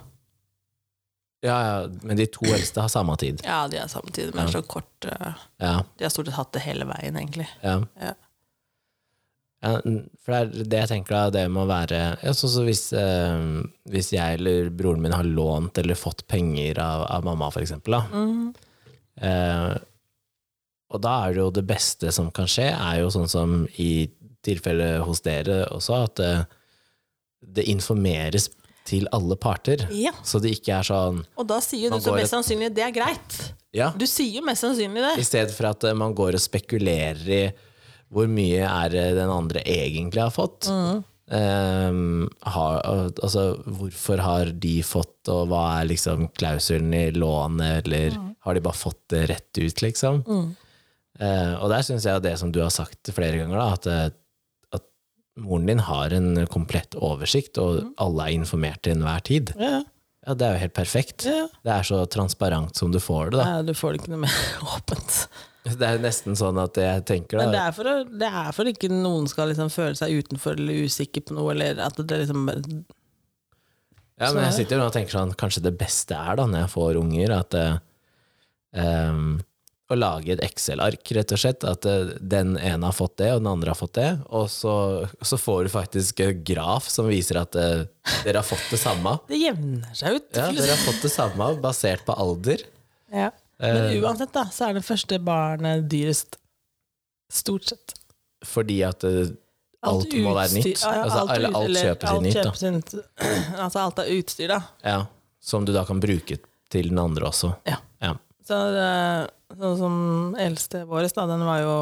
Speaker 1: Ja, ja, men de to eldste har samme tid.
Speaker 2: Ja, de er samtidig, men så kort eh,
Speaker 1: Ja,
Speaker 2: De har stort sett hatt det hele veien, egentlig.
Speaker 1: ja.
Speaker 2: Ja.
Speaker 1: Ja, n- for det er det jeg tenker da, det må være ja, så, så hvis, eh, hvis jeg eller broren min har lånt eller fått penger av, av mamma, for eksempel, da,
Speaker 2: Mm,
Speaker 1: eh, og da er det jo det beste som kan skje, er jo sånn som i tilfellet hos dere også, at eh, det informeres til alle parter,
Speaker 2: Ja.
Speaker 1: så det ikke er sånn,
Speaker 2: Og da sier jo
Speaker 1: Man
Speaker 2: du så
Speaker 1: går
Speaker 2: mest
Speaker 1: et-
Speaker 2: sannsynlig det er greit.
Speaker 1: ja,
Speaker 2: Du sier jo mest sannsynlig det.
Speaker 1: I stedet for at eh, man går og spekulerer i hvor mye er det den andre egentlig har fått. Ehm, har, al- altså, hvorfor har de fått, og hva er liksom klausulen i lånet, eller har de bare fått det rett ut, liksom? Eh, og der syns jeg det som du har sagt flere ganger, da, at, eh, at moren din har en komplett oversikt, og alle er informert til enhver tid.
Speaker 2: Ja,
Speaker 1: Ja, det er jo helt perfekt.
Speaker 2: ja.
Speaker 1: Det er så transparent som du får det, da.
Speaker 2: Nei, Eh, du får det ikke noe mer *laughs* åpent.
Speaker 1: Det er nesten sånn at jeg tenker
Speaker 2: Men det
Speaker 1: da,
Speaker 2: er for, å- det er for ikke noen skal liksom føle seg utenfor eller usikker på noe, eller at det liksom bare-
Speaker 1: ja, men jeg sitter jo og tenker sånn, kanskje det beste er da når jeg får unger, at eh, em, å lage et Excel-ark, rett og slett, at eh, den ene har fått det, og den andre har fått det, og så, så får du faktisk en graf som viser at eh, dere har fått det samme.
Speaker 2: Det jevner seg ut.
Speaker 1: Ja, dere har fått det samme basert på alder.
Speaker 2: Ja.
Speaker 1: Eh.
Speaker 2: Men uansett, da, så er det første barnet dyrest. Stort sett.
Speaker 1: Fordi at eh, alt må være
Speaker 2: utstyr-
Speaker 1: nytt.
Speaker 2: Ja, ja,
Speaker 1: Altså, eller alt
Speaker 2: eller
Speaker 1: kjøpes i
Speaker 2: alt
Speaker 1: nytt, da.
Speaker 2: kjøpes i nytt. *clears throat* altså alt av utstyr, da.
Speaker 1: Ja, som du da kan bruke til den andre også.
Speaker 2: Ja.
Speaker 1: Ja.
Speaker 2: Så det, sånn som eldste vår, da, den var jo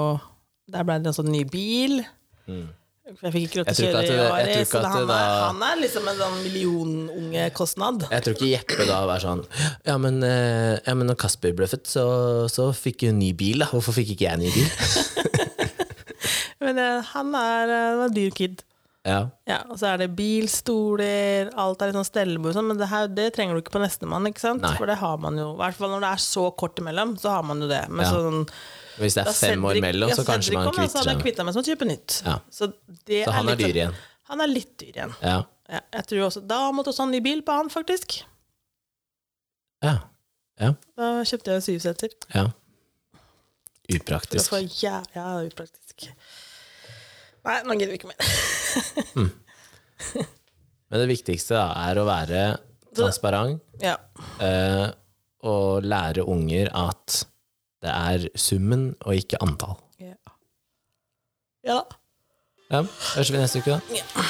Speaker 2: Der ble det også en ny bil. For Jeg fikk ikke lov til å
Speaker 1: Mm. Jeg tror ikke
Speaker 2: kjøre i
Speaker 1: at det- jeg
Speaker 2: året,
Speaker 1: tror
Speaker 2: så
Speaker 1: ikke at
Speaker 2: han,
Speaker 1: det
Speaker 2: er,
Speaker 1: da-
Speaker 2: han er liksom en sånn millionungekostnad.
Speaker 1: Jeg tror ikke Jeppe da var sånn Ja, men, eh, ja, men når Kasper ble født, så, så fikk hun ny bil, da. Hvorfor fikk ikke jeg ny bil? *laughs*
Speaker 2: Men eh, han er eh, han var en dyr kid.
Speaker 1: ja.
Speaker 2: Ja, og så er det bil, stoler, alt er litt sånn stellebord og sånn, men det, her, det trenger du ikke på nestemann, ikke sant?
Speaker 1: Nei.
Speaker 2: For det har man jo, i hvert fall når det er så kort imellom, så har man jo det. Men
Speaker 1: Ja.
Speaker 2: sånn,
Speaker 1: Hvis det
Speaker 2: da
Speaker 1: er fem år
Speaker 2: Cedric-
Speaker 1: imellom,
Speaker 2: ja,
Speaker 1: så kanskje
Speaker 2: Cedric
Speaker 1: man
Speaker 2: kom, altså. da,
Speaker 1: kvitter seg
Speaker 2: Så hadde jeg
Speaker 1: med
Speaker 2: kvittet meg som å kjøpe nytt.
Speaker 1: Ja.
Speaker 2: Så, det
Speaker 1: Så han er
Speaker 2: litt sånn-
Speaker 1: dyr igjen.
Speaker 2: Han er litt dyr igjen.
Speaker 1: Ja.
Speaker 2: Ja, jeg tror også, da måtte også ha ny bil på han, faktisk.
Speaker 1: ja.
Speaker 2: Da kjøpte jeg syvseter.
Speaker 1: ja.
Speaker 2: Det
Speaker 1: Upraktisk.
Speaker 2: var jæ- ja, det er upraktisk. Nei, nå gidder vi ikke mer.
Speaker 1: Men det viktigste da, er å være transparent
Speaker 2: Ja.
Speaker 1: eh, og lære unger at det er summen og ikke antall.
Speaker 2: Ja, ja da.
Speaker 1: Ja, høres vi neste uke, da.
Speaker 2: Ja.